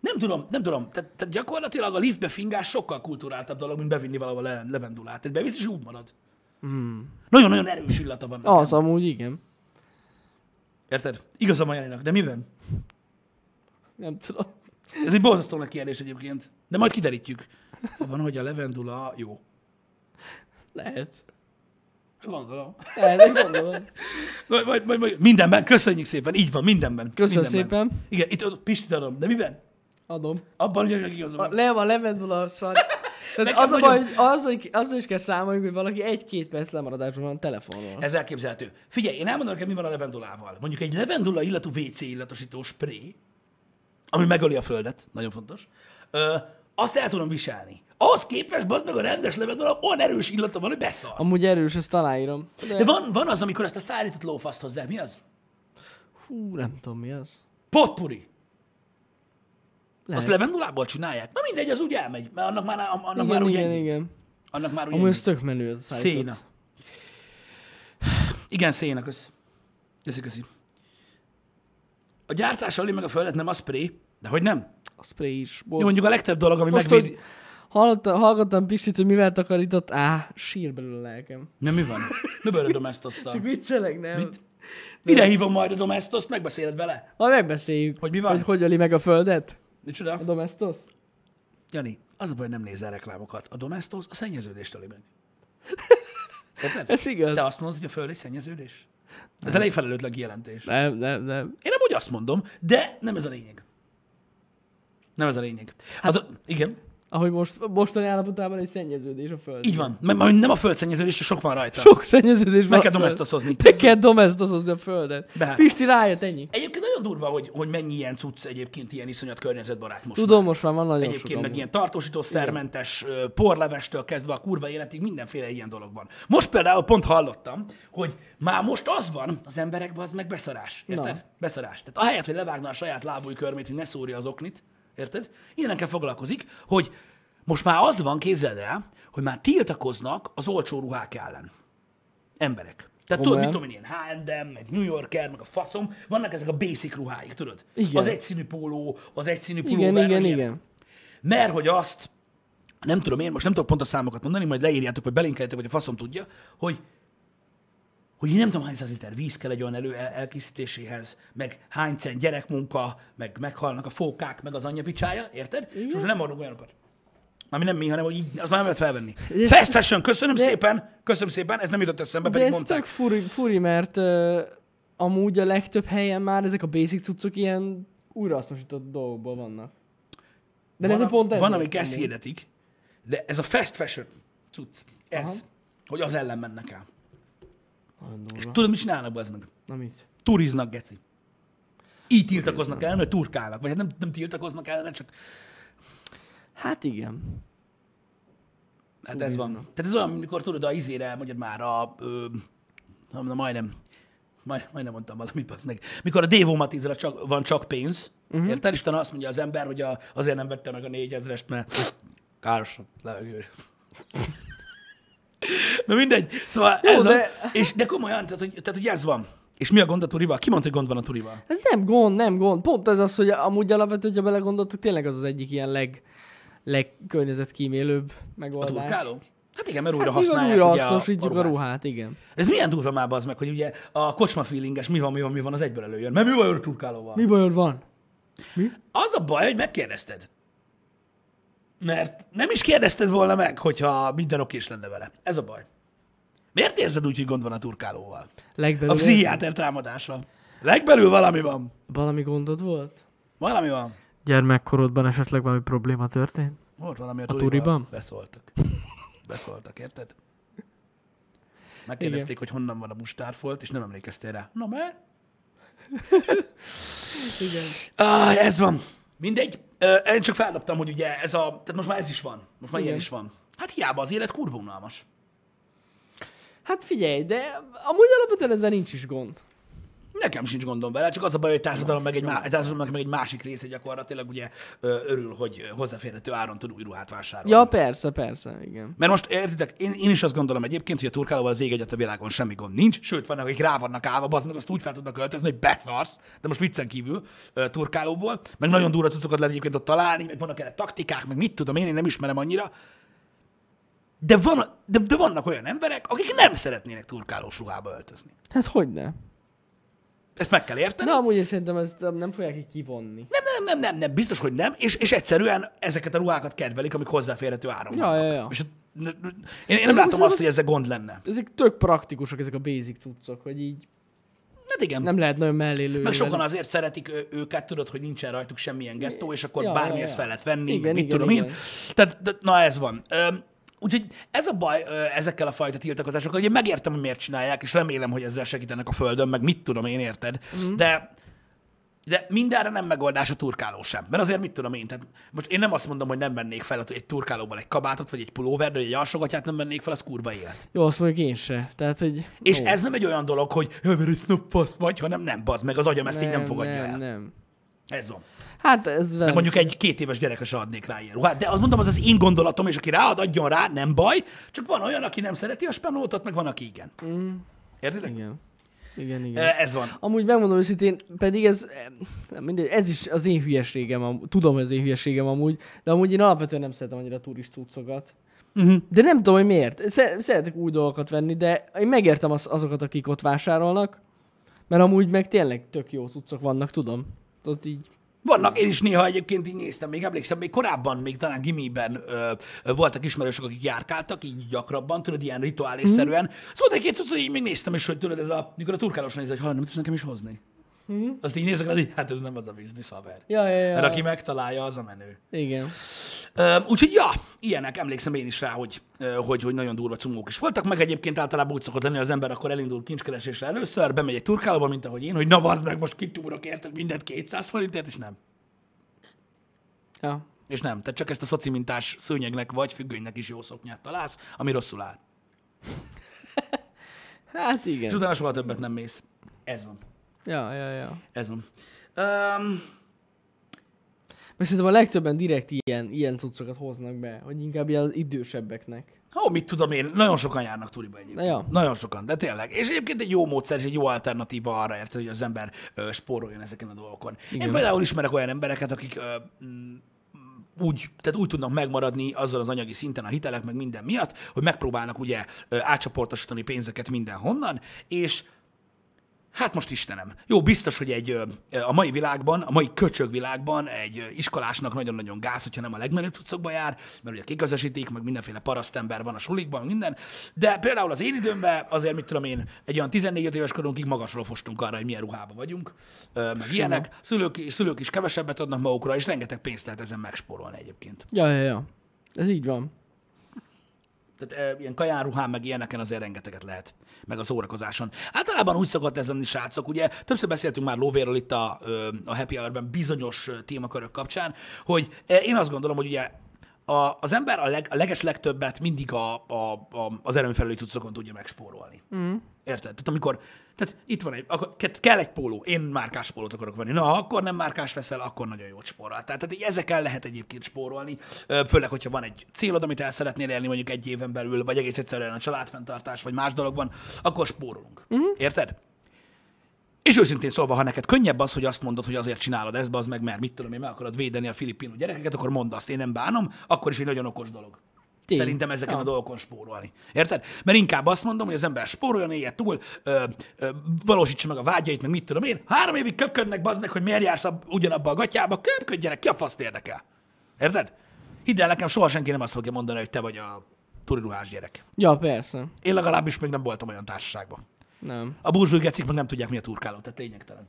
[SPEAKER 2] Nem tudom, nem tudom. Tehát, tehát gyakorlatilag a liftbe fingás sokkal kulturáltabb dolog, mint bevinni valahol le, levendulát. Tehát bevisz, és úgy marad.
[SPEAKER 1] Hmm.
[SPEAKER 2] Nagyon-nagyon erős illata van. nekem.
[SPEAKER 1] Az amúgy igen.
[SPEAKER 2] Érted? Igaza van Janinak, de miben?
[SPEAKER 1] Nem tudom.
[SPEAKER 2] Ez egy borzasztó nagy kérdés egyébként. De majd kiderítjük. Van, hogy a levendula jó.
[SPEAKER 1] Lehet.
[SPEAKER 2] Gondolom.
[SPEAKER 1] Lehet, én gondolom.
[SPEAKER 2] Majd, majd, majd, majd, mindenben, köszönjük szépen, így van, mindenben.
[SPEAKER 1] Köszönöm
[SPEAKER 2] mindenben.
[SPEAKER 1] szépen.
[SPEAKER 2] Igen, itt ott Pistit adom, de miben?
[SPEAKER 1] Adom.
[SPEAKER 2] Abban ugyanúgy igazam.
[SPEAKER 1] A,
[SPEAKER 2] van.
[SPEAKER 1] le van levendula szar. Tehát
[SPEAKER 2] Nekem
[SPEAKER 1] az a baj,
[SPEAKER 2] nagyon-
[SPEAKER 1] hogy az, hogy azzal is kell számolni, hogy valaki egy-két perc lemaradásban van a telefonon.
[SPEAKER 2] Ez elképzelhető. Figyelj, én elmondom neked, mi van a levendulával. Mondjuk egy levendula illatú WC illatosító spré, ami megöli a földet, nagyon fontos, ö, azt el tudom viselni. Ahhoz képest, bazd meg a rendes levendula, olyan erős illata van, hogy beszarsz.
[SPEAKER 1] Amúgy erős, ezt aláírom.
[SPEAKER 2] De van, van az, amikor ezt a szárított lófaszt hozzá. Mi az?
[SPEAKER 1] Hú, nem tudom mi az.
[SPEAKER 2] Potpuri.
[SPEAKER 1] Lehet.
[SPEAKER 2] Azt levendulából csinálják? Na mindegy, az úgy elmegy, mert annak már, annak
[SPEAKER 1] igen,
[SPEAKER 2] már ugye
[SPEAKER 1] igen, igen.
[SPEAKER 2] Annak már ugye
[SPEAKER 1] Amúgy
[SPEAKER 2] ennyi.
[SPEAKER 1] ez tök menő ez a
[SPEAKER 2] Széna.
[SPEAKER 1] szállított.
[SPEAKER 2] Igen, széna, kösz. Köszi, köszi. A gyártás öli meg a földet, nem a spray, de hogy nem?
[SPEAKER 1] A spray is.
[SPEAKER 2] Jó,
[SPEAKER 1] Most,
[SPEAKER 2] mondjuk a legtöbb dolog, ami
[SPEAKER 1] most
[SPEAKER 2] megvédi...
[SPEAKER 1] hogy hallottam, hallgattam Pistit, hogy mivel takarított, á, sír belőle a lelkem.
[SPEAKER 2] Nem, mi van? Ne bőrödöm ezt
[SPEAKER 1] Csak
[SPEAKER 2] osszal.
[SPEAKER 1] viccelek, nem? Mit?
[SPEAKER 2] Ide hívom majd a domestos, megbeszéled vele.
[SPEAKER 1] Majd megbeszéljük.
[SPEAKER 2] Hogy mi van?
[SPEAKER 1] Hogy hogy öli meg a földet?
[SPEAKER 2] Micsoda?
[SPEAKER 1] A domestos?
[SPEAKER 2] Jani, az a baj, nem nézel reklámokat. A domestos a szennyeződést öli meg. Érted?
[SPEAKER 1] Ez igaz.
[SPEAKER 2] Te azt mondod, hogy a föld egy szennyeződés? Ez elég felelőtlen kijelentés.
[SPEAKER 1] Nem, nem, nem.
[SPEAKER 2] Én nem úgy azt mondom, de nem ez a lényeg. Nem ez a lényeg. Hát, a, igen,
[SPEAKER 1] Ahogy most, mostani állapotában egy szennyeződés a föld.
[SPEAKER 2] így van. M- m- nem a földszennyeződés, csak sok van rajta.
[SPEAKER 1] Sok szennyeződés
[SPEAKER 2] Meg
[SPEAKER 1] van. a
[SPEAKER 2] kell
[SPEAKER 1] föld.
[SPEAKER 2] domestoszozni.
[SPEAKER 1] Te kell domestoszozni a földet.
[SPEAKER 2] Beállt.
[SPEAKER 1] Pisti, rájött ennyi.
[SPEAKER 2] Egyébként nagyon durva, hogy, hogy mennyi ilyen cucc egyébként ilyen iszonyat környezetbarát most.
[SPEAKER 1] Tudom, most már van nagyon
[SPEAKER 2] Egyébként
[SPEAKER 1] sokan.
[SPEAKER 2] meg ilyen tartósítószermentes ö, porlevestől kezdve a kurva életig mindenféle ilyen dolog van. Most például pont hallottam, hogy már most az van az emberekben, az meg beszarás. Érted?
[SPEAKER 1] Na.
[SPEAKER 2] Beszarás. Tehát ahelyett, hogy levágná a saját lábúj körmét, hogy ne szúrja az oknit, érted? Ilyenekkel foglalkozik, hogy most már az van, képzeld el, hogy már tiltakoznak az olcsó ruhák ellen emberek. Tehát tudod, mit
[SPEAKER 1] Komolyan?
[SPEAKER 2] tudom én, ilyen H&M, meg New Yorker, meg a faszom, vannak ezek a basic ruháik, tudod?
[SPEAKER 1] Igen.
[SPEAKER 2] Az egyszínű póló, az egyszínű pulóver,
[SPEAKER 1] Igen, igen,
[SPEAKER 2] meg ilyenek.
[SPEAKER 1] igen.
[SPEAKER 2] Mert hogy azt, nem tudom én, most nem tudok pont a számokat mondani, majd leírjátok, vagy belinkeljátok, vagy a faszom tudja, hogy hogy nem tudom hány száz liter víz kell egy olyan elő el- elkészítéséhez, meg hány cent gyerekmunka, meg meghalnak a fókák, meg az anyja picsája, érted? És most nem adunk olyanokat. Ami nem mi, hanem hogy így, azt már nem lehet felvenni.
[SPEAKER 1] ez-
[SPEAKER 2] Fast fashion, köszönöm
[SPEAKER 1] de-
[SPEAKER 2] szépen, köszönöm szépen, ez nem jutott eszembe,
[SPEAKER 1] De
[SPEAKER 2] pedig
[SPEAKER 1] ez
[SPEAKER 2] mondták.
[SPEAKER 1] tök furi, furi mert uh, amúgy a legtöbb helyen már ezek a basic cuccok ilyen újrahasznosított dolgokban vannak. De
[SPEAKER 2] van,
[SPEAKER 1] lehet,
[SPEAKER 2] a-
[SPEAKER 1] hogy pont ez.
[SPEAKER 2] van
[SPEAKER 1] az
[SPEAKER 2] amik ezt
[SPEAKER 1] amúgy.
[SPEAKER 2] hirdetik, de ez a fast fashion cucc, ez,
[SPEAKER 1] Aha.
[SPEAKER 2] hogy az ellen mennek el.
[SPEAKER 1] Nagyon durva.
[SPEAKER 2] Tudod, mit csinálnak be meg?
[SPEAKER 1] Na mit?
[SPEAKER 2] Turiznak, geci. Így tiltakoznak ellen, hogy turkálnak. Vagy hát nem, nem tiltakoznak ellen, csak
[SPEAKER 1] Hát igen.
[SPEAKER 2] hát ez van.
[SPEAKER 1] Turiznak.
[SPEAKER 2] Tehát ez olyan, mint mikor tudod, a izére, mondjad már a... Ö, na, na, majdnem, majd, majdnem mondtam valamit, az meg. Mikor a Dévó Matizra csak, van csak pénz, uh-huh. érted? Isten azt mondja az ember, hogy a, azért nem vette meg a négyezrest, mert káros a levegőre. Na mindegy. Szóval Jó, ez de...
[SPEAKER 1] de-
[SPEAKER 2] A, és de komolyan, tehát hogy, tehát, hogy ez van. És mi a gond a turival? Ki mondta, hogy gond van a turival?
[SPEAKER 1] Ez nem gond, nem gond. Pont ez az, hogy amúgy alapvetően, hogyha belegondoltuk, tényleg az az egyik ilyen leg, legkörnyezetkímélőbb megoldás.
[SPEAKER 2] Turkáló? Hát igen, mert újra
[SPEAKER 1] Mi van,
[SPEAKER 2] használják.
[SPEAKER 1] újra
[SPEAKER 2] ugye
[SPEAKER 1] hasznosítjuk a ruhát, igen.
[SPEAKER 2] Ez milyen durva már az meg, hogy ugye a kocsma feelinges, mi van, mi van, mi van, az egyből előjön. Mert mi van a turkálóval?
[SPEAKER 1] Mi bajod van?
[SPEAKER 2] Az a baj, hogy megkérdezted. Mert nem is kérdezted volna meg, hogyha minden okés lenne vele. Ez a baj. Miért érzed úgy, hogy gond van a turkálóval? A
[SPEAKER 1] Legbelül
[SPEAKER 2] pszichiáter támadása. Legbelül valami van.
[SPEAKER 1] Valami gondod volt?
[SPEAKER 2] Valami van.
[SPEAKER 1] Gyermekkorodban esetleg valami probléma történt?
[SPEAKER 2] Volt valami a,
[SPEAKER 1] turiban?
[SPEAKER 2] Beszóltak. Beszóltak, érted? Megkérdezték, hogy honnan van a mustárfolt, és nem emlékeztél rá. Na mert?
[SPEAKER 1] Igen.
[SPEAKER 2] Ah, ez van. Mindegy. Ö, Én csak feldobtam, hogy ugye ez a... Tehát most már ez is van. Most már Igen.
[SPEAKER 1] Igen.
[SPEAKER 2] ilyen is van. Hát hiába az élet kurva unalmas.
[SPEAKER 1] Hát figyelj, de amúgy alapvetően ezzel nincs is gond.
[SPEAKER 2] Nekem sincs gondom vele, csak az a baj, hogy társadalom meg egy, má, társadalomnak meg egy másik része gyakorlatilag ugye ö, örül, hogy ö, hozzáférhető áron tud új ruhát vásárolni.
[SPEAKER 1] Ja, persze, persze, igen.
[SPEAKER 2] Mert most értitek, én, én is azt gondolom egyébként, hogy a turkálóval az ég egyet a világon semmi gond nincs, sőt, vannak, akik rá vannak állva, az meg azt úgy fel tudnak öltözni, hogy beszarsz, de most viccen kívül ö, turkálóból, meg nagyon durva cuccokat lehet egyébként ott találni, meg vannak erre taktikák, meg mit tudom én, én nem ismerem annyira. De, van, de, de vannak olyan emberek, akik nem szeretnének turkálós ruhába öltözni.
[SPEAKER 1] Hát hogy ne?
[SPEAKER 2] Ezt meg kell érteni.
[SPEAKER 1] De amúgy én szerintem ezt nem fogják így kivonni.
[SPEAKER 2] Nem, nem, nem, nem, nem, biztos, hogy nem, és, és egyszerűen ezeket a ruhákat kedvelik, amik hozzáférhető áron.
[SPEAKER 1] Ja,
[SPEAKER 2] vannak.
[SPEAKER 1] ja, ja.
[SPEAKER 2] És, én, én nem látom azt, hogy ezzel gond lenne.
[SPEAKER 1] Ezek tök praktikusak, ezek a basic cuccok, hogy így
[SPEAKER 2] Hát igen.
[SPEAKER 1] nem lehet nagyon mellé lőni.
[SPEAKER 2] Meg sokan
[SPEAKER 1] velük.
[SPEAKER 2] azért szeretik ö- őket, tudod, hogy nincsen rajtuk semmilyen gettó, és akkor ja,
[SPEAKER 1] Ja,
[SPEAKER 2] bármi
[SPEAKER 1] ja,
[SPEAKER 2] ezt
[SPEAKER 1] ja.
[SPEAKER 2] fel lehet venni, igen,
[SPEAKER 1] Igen,
[SPEAKER 2] mit igen,
[SPEAKER 1] igen,
[SPEAKER 2] tudom igen. én.
[SPEAKER 1] igen.
[SPEAKER 2] Tehát, de, na ez van. Öm, úgyhogy ez a baj ö, ezekkel a fajta tiltakozásokkal, hogy én megértem, hogy miért csinálják, és remélem, hogy ezzel segítenek a földön, meg mit tudom én, érted?
[SPEAKER 1] Mhm.
[SPEAKER 2] Mm. De de mindenre nem megoldás a turkáló sem. Mert azért mit tudom én, tehát most én nem azt mondom, hogy nem vennék fel egy turkálóból egy kabátot, vagy egy pulóvert, vagy egy alsogatját nem vennék fel, az kurva élet.
[SPEAKER 1] Jó, azt mondjuk én se. Tehát, hogy...
[SPEAKER 2] És
[SPEAKER 1] Ó,
[SPEAKER 2] ez nem egy olyan dolog, hogy jaj, mert egy snoopfasz vagy, hanem nem, bazd meg, az agyam ezt így nem fogadja
[SPEAKER 1] nem,
[SPEAKER 2] el.
[SPEAKER 1] Nem.
[SPEAKER 2] Ez van.
[SPEAKER 1] Hát ez velem.
[SPEAKER 2] Meg mondjuk egy két éves gyerekre se adnék rá ilyen ruhát. De azt mondom, az az én gondolatom, és aki ráad, adjon rá, nem baj. Csak van olyan, aki nem szereti a spenótot, meg van, aki igen. Mm. Értitek?
[SPEAKER 1] Igen. Igen, igen.
[SPEAKER 2] E, Ez van.
[SPEAKER 1] Amúgy megmondom őszintén, pedig ez, nem mindegy, ez is az én hülyeségem, am- tudom, hogy az én hülyeségem amúgy, de amúgy én alapvetően nem szeretem annyira turist cuccokat. Uh-huh. De nem tudom, hogy miért. Sze- Szeretek új dolgokat venni, de én megértem az, azokat, akik ott vásárolnak, Mert amúgy meg tényleg tök jó cuccok vannak, tudom. Ott így
[SPEAKER 2] Vannak, én is néha egyébként így néztem, még emlékszem, még korábban, még talán gimiben ö, ö, voltak ismerősök, akik járkáltak, így gyakrabban, tudod, ilyen rituálészerűen. Mm. Szóval egy-két cucc, hogy így még néztem is, hogy tudod, ez a, mikor a turkálós néz, hogy hallom, nem tudsz nekem is hozni. Mm. Azt így nézek, hogy hát ez nem az a biznisz, haver.
[SPEAKER 1] Ja, ja, ja.
[SPEAKER 2] Mert aki megtalálja, az a menő.
[SPEAKER 1] Igen.
[SPEAKER 2] Öm, úgyhogy ja, ilyenek, emlékszem én is rá, hogy, ö, hogy, hogy nagyon durva cumók is voltak, meg egyébként általában úgy szokott lenni, az ember akkor elindul kincskeresésre először, bemegy egy turkálóba, mint ahogy én, hogy na bazd meg, most kitúrok érted mindent 200 forintért, és nem.
[SPEAKER 1] Ja.
[SPEAKER 2] És nem, tehát csak ezt a szoci mintás szőnyegnek vagy függönynek is jó szoknyát találsz, ami rosszul áll.
[SPEAKER 1] Hát
[SPEAKER 2] És
[SPEAKER 1] igen.
[SPEAKER 2] utána soha többet nem mész. Ez van.
[SPEAKER 1] Ja, ja, ja.
[SPEAKER 2] Ez van. Um,
[SPEAKER 1] Meg szerintem a legtöbben direkt ilyen, ilyen cuccokat hoznak be, hogy inkább ilyen idősebbeknek.
[SPEAKER 2] Ó, mit tudom én, nagyon sokan járnak turiba egyébként.
[SPEAKER 1] Na ja.
[SPEAKER 2] Nagyon sokan, de tényleg. És egyébként egy jó módszer és egy jó alternatíva arra, érted, hogy az ember ö, spóroljon ezeken a dolgokon. Igen. Én
[SPEAKER 1] Igen.
[SPEAKER 2] például ismerek olyan embereket, akik ö, mm, úgy, tehát úgy tudnak megmaradni azzal az anyagi szinten a hitelek, meg minden miatt, hogy megpróbálnak ugye ö, átcsoportosítani pénzeket mindenhonnan, és Hát most Istenem. Jó, biztos, hogy egy ö, ö, a mai világban, a mai köcsög világban egy ö, iskolásnak nagyon-nagyon gáz, hogyha nem a legmenőbb cuccokba jár, mert ugye kigazasítik, meg mindenféle parasztember van a sulikban, minden. De például az én időmben azért, mit tudom én, egy olyan 14 éves korunkig magasról fostunk arra, hogy milyen ruhába vagyunk, ö, meg ilyenek. Szülők, szülők is kevesebbet adnak magukra, és rengeteg pénzt lehet ezen megspórolni egyébként.
[SPEAKER 1] Ja, ja, ja. Ez így van.
[SPEAKER 2] Tehát e, ilyen kajánruhán, meg ilyeneken azért rengeteget lehet, meg a szórakozáson. Általában úgy szokott ez lenni, srácok, ugye többször beszéltünk már lóvéről itt a, ö, a Happy Hour-ben bizonyos ö, témakörök kapcsán, hogy e, én azt gondolom, hogy ugye a, az ember a, leg, a leges legtöbbet mindig a, a, a, az erőnfelelői cuccokon tudja megspórolni. Mm. Érted? Tehát amikor, tehát itt van egy, akkor, ke- kell egy póló, én márkás pólót akarok venni. Na, ha akkor nem márkás veszel, akkor nagyon jót spórol. Tehát, tehát így ezekkel lehet egyébként spórolni, ö, főleg, hogyha van egy célod, amit el szeretnél elérni mondjuk egy éven belül, vagy egész egyszerűen a családfenntartás, vagy más dologban, akkor spórolunk. Mm. Érted? És őszintén szólva, ha neked könnyebb az, hogy azt mondod, hogy azért csinálod ezt, az meg, mert mit tudom én, meg akarod védeni a filipino gyerekeket, akkor mondd azt, én nem bánom, akkor is egy nagyon okos dolog.
[SPEAKER 1] Tény.
[SPEAKER 2] Szerintem ezeken a dolgokon spórolni. Érted? Mert inkább azt mondom, hogy az ember spóroljon, élje túl, ö, ö, valósítsa meg a vágyait, meg mit tudom én. Három évig köpködnek, bazd meg, hogy miért jársz ab, ugyanabba a gatyába, köpködjenek, ki a faszt érdekel. Érted? Hidd el nekem, soha senki nem azt fogja mondani, hogy te vagy a turiruhás gyerek.
[SPEAKER 1] Ja, persze.
[SPEAKER 2] Én legalábbis még nem voltam olyan társaságban.
[SPEAKER 1] Nem.
[SPEAKER 2] A burzsúj gecik meg nem tudják, mi a turkáló, tehát lényegtelen.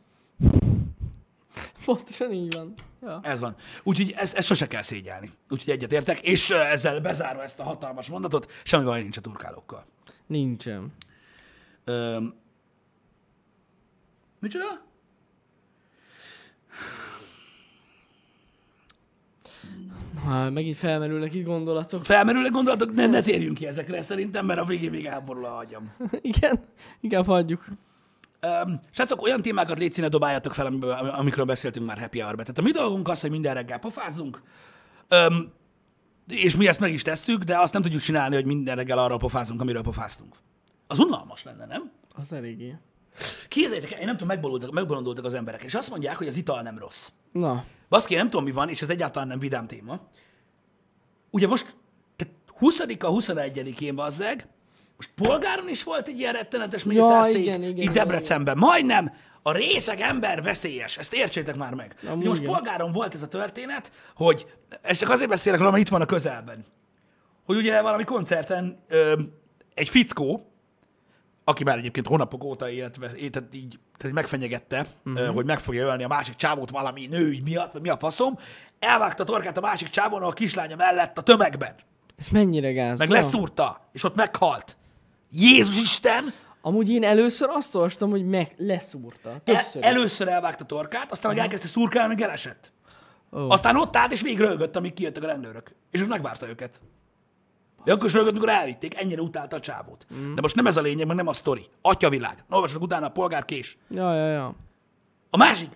[SPEAKER 1] Pontosan így van. Ja.
[SPEAKER 2] Ez van. Úgyhogy ezt, ezt sose kell szégyelni. Úgyhogy egyetértek, és ö, ezzel bezárva ezt a hatalmas mondatot, semmi baj nincs a turkálókkal.
[SPEAKER 1] Nincsen.
[SPEAKER 2] Öm... Micsoda?
[SPEAKER 1] Ha, megint felmerülnek itt gondolatok.
[SPEAKER 2] Felmerülnek gondolatok, ne, ne térjünk ki ezekre szerintem, mert a végén még elborul a agyam.
[SPEAKER 1] Igen, inkább hagyjuk.
[SPEAKER 2] Um, srácok, olyan témákat légy színe, dobáljatok fel, amiből- am- amikről beszéltünk már Happy hour Tehát a mi dolgunk az, hogy minden reggel pofázzunk, um, és mi ezt meg is tesszük, de azt nem tudjuk csinálni, hogy minden reggel arról pofázunk, amiről pofáztunk. Az unalmas lenne, nem?
[SPEAKER 1] Az eléggé.
[SPEAKER 2] Képzeljétek el, én nem tudom, megbolondultak, megbolondultak az emberek, és azt mondják, hogy az ital nem rossz.
[SPEAKER 1] Na,
[SPEAKER 2] Baszki, én nem tudom, mi van, és ez egyáltalán nem vidám téma. Ugye most, tehát 20-a, 21-én bazzeg, most polgáron is volt egy ilyen rettenetes mészárszék,
[SPEAKER 1] igen, igen,
[SPEAKER 2] itt
[SPEAKER 1] igen,
[SPEAKER 2] Debrecenben. Majdnem a részeg ember veszélyes, ezt értsétek már meg. Ugye most
[SPEAKER 1] igen.
[SPEAKER 2] polgáron volt ez a történet, hogy, ezt csak azért beszélek róla, mert itt van a közelben, hogy ugye valami koncerten ö, egy fickó, aki már egyébként hónapok óta életve, é- tehát így, tehát így megfenyegette, uh-huh. hogy meg fogja ölni a másik csávót valami nőügy miatt, vagy mi a faszom, elvágta a torkát a másik csávon a kislánya mellett a tömegben,
[SPEAKER 1] ez mennyire gáz.
[SPEAKER 2] meg
[SPEAKER 1] na?
[SPEAKER 2] leszúrta, és ott meghalt. Jézus Isten!
[SPEAKER 1] Amúgy én először azt olvastam, hogy meg leszúrta.
[SPEAKER 2] El,
[SPEAKER 1] Többször. is.
[SPEAKER 2] először elvágta a torkát, aztán meg elkezdte szurkálni, meg elesett.
[SPEAKER 1] Ó.
[SPEAKER 2] Aztán ott állt, és még rögött, amíg kijöttek a rendőrök. És ott megvárta őket. De akkor is rögött, mikor elvitték, ennyire utálta a csávót.
[SPEAKER 1] Mm.
[SPEAKER 2] De most nem ez a lényeg, meg nem a sztori. Atyavilág. Na, Olvassatok utána a polgár kés.
[SPEAKER 1] Ja, ja, ja.
[SPEAKER 2] A másik.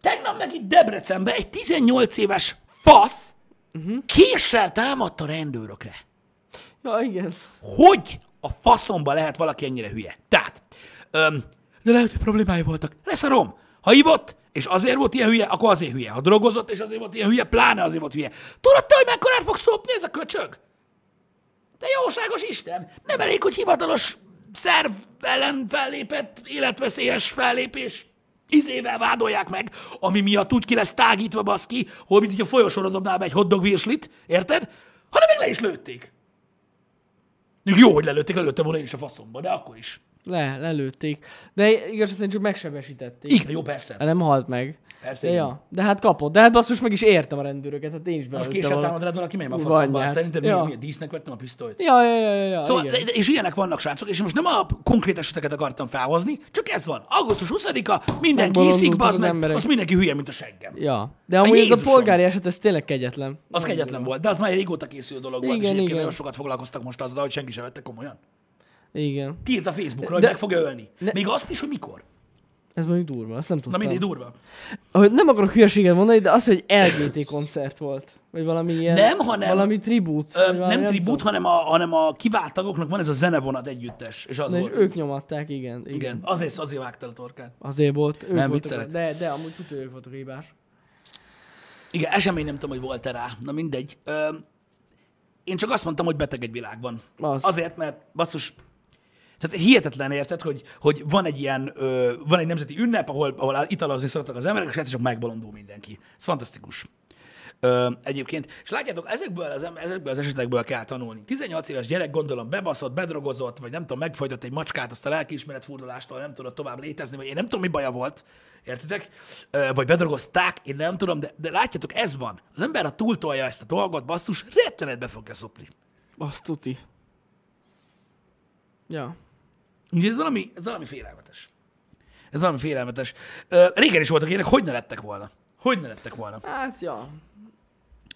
[SPEAKER 2] Tegnap meg itt Debrecenben egy 18 éves fasz
[SPEAKER 1] Mhm.
[SPEAKER 2] uh-huh. késsel támadta rendőrökre.
[SPEAKER 1] Ja, igen.
[SPEAKER 2] Hogy a faszomba lehet valaki ennyire hülye? Tehát, öm, de lehet, hogy problémái voltak. Leszarom. Ha ivott, és azért volt ilyen hülye, akkor azért hülye. Ha drogozott, és azért volt ilyen hülye, pláne azért volt hülye. Tudod te, hogy mekkorát fog szopni ez a köcsög? De jóságos Isten! Nem elég, hogy hivatalos szerv ellen fellépett életveszélyes fellépés izével vádolják meg, ami miatt úgy ki lesz tágítva baszki, hogy mint hogy a folyosóra dobnál be egy hotdog virslit, érted? Hanem még le is lőtték. Mondjuk Jó, hogy lelőtték, lelőttem volna én is a faszomba, de akkor is.
[SPEAKER 1] Le, lelőtték. De igaz, szerint csak megsebesítették.
[SPEAKER 2] Igen, jó, persze.
[SPEAKER 1] De nem halt meg.
[SPEAKER 2] Persze,
[SPEAKER 1] De,
[SPEAKER 2] igen.
[SPEAKER 1] ja. de hát kapott. De hát basszus, meg is értem a rendőröket, hát én is
[SPEAKER 2] Most
[SPEAKER 1] belőttem
[SPEAKER 2] később
[SPEAKER 1] volna.
[SPEAKER 2] támad rád valaki, melyem a
[SPEAKER 1] Ú,
[SPEAKER 2] faszomba.
[SPEAKER 1] anyját.
[SPEAKER 2] Szerintem
[SPEAKER 1] Ja.
[SPEAKER 2] milyen, milyen dísznek vettem a pisztolyt.
[SPEAKER 1] Ja, ja, ja, ja, ja
[SPEAKER 2] Szóval,
[SPEAKER 1] igen.
[SPEAKER 2] és ilyenek vannak, srácok, és most nem a konkrét eseteket akartam felhozni, csak ez van. Augusztus 20-a, mindenki
[SPEAKER 1] Megbolondultak
[SPEAKER 2] iszik, bazd
[SPEAKER 1] az
[SPEAKER 2] meg,
[SPEAKER 1] emberek.
[SPEAKER 2] most mindenki hülye, mint a seggem.
[SPEAKER 1] Ja. De amúgy ez a
[SPEAKER 2] Jézusom!
[SPEAKER 1] polgári eset, ez tényleg kegyetlen.
[SPEAKER 2] Az kegyetlen volt, de az már egy régóta készülő dolog volt,
[SPEAKER 1] Igen,
[SPEAKER 2] és egyébként
[SPEAKER 1] igen.
[SPEAKER 2] nagyon sokat foglalkoztak most azzal, hogy senki sem vette komolyan.
[SPEAKER 1] Igen.
[SPEAKER 2] Kiírt a Facebookra, hogy
[SPEAKER 1] De-
[SPEAKER 2] meg fogja ölni.
[SPEAKER 1] ne-
[SPEAKER 2] Még azt is, hogy mikor.
[SPEAKER 1] Ez mondjuk durva, azt nem tudtam.
[SPEAKER 2] Na mindig durva.
[SPEAKER 1] Hogy nem akarok hülyeséget mondani, de az, hogy LGT koncert volt. Vagy valami ilyen...
[SPEAKER 2] Nem, hanem-
[SPEAKER 1] Valami tribut.
[SPEAKER 2] Ö,
[SPEAKER 1] vagy valami,
[SPEAKER 2] nem tribut,
[SPEAKER 1] Szóval
[SPEAKER 2] hanem
[SPEAKER 1] tudom.
[SPEAKER 2] a, hanem a kivált tagoknak van ez a zenevonat együttes, és az
[SPEAKER 1] Na,
[SPEAKER 2] volt.
[SPEAKER 1] és ők nyomatták, igen. igen.
[SPEAKER 2] Igen, azért, azért vágtál a torkát.
[SPEAKER 1] Azért volt. Ők
[SPEAKER 2] Nem
[SPEAKER 1] voltak,
[SPEAKER 2] viccelek.
[SPEAKER 1] De, de amúgy tudja, hogy ők voltak hibás.
[SPEAKER 2] Igen, esemény nem tudom, hogy volt-e rá. Na mindegy. Ö, én csak azt mondtam, hogy beteg egy világban.
[SPEAKER 1] Az.
[SPEAKER 2] Azért, mert basszus, tehát hihetetlen érted, hogy, hogy van egy ilyen, ö, van egy nemzeti ünnep, ahol, ahol italozni szoktak az emberek, és egyszer csak megbolondul mindenki. Ez fantasztikus. Ö, egyébként, és látjátok, ezekből az, em- ezekből az esetekből kell tanulni. 18 éves gyerek gondolom bebaszott, bedrogozott, vagy nem tudom, megfojtott egy macskát, azt a lelkiismeret furdalástól nem tudott tovább létezni, vagy én nem tudom, mi baja volt, értitek? Ö, vagy bedrogozták, én nem tudom, de, de látjátok, ez van. Az ember, ha túltolja ezt a dolgot, basszus, rettenetbe fogja szopni.
[SPEAKER 1] Azt tuti. Ja.
[SPEAKER 2] Ugye ez valami, ez valami félelmetes. Ez valami félelmetes. Ö, régen is voltak ilyenek, hogy ne lettek volna? Hogy ne lettek volna?
[SPEAKER 1] Hát, ja.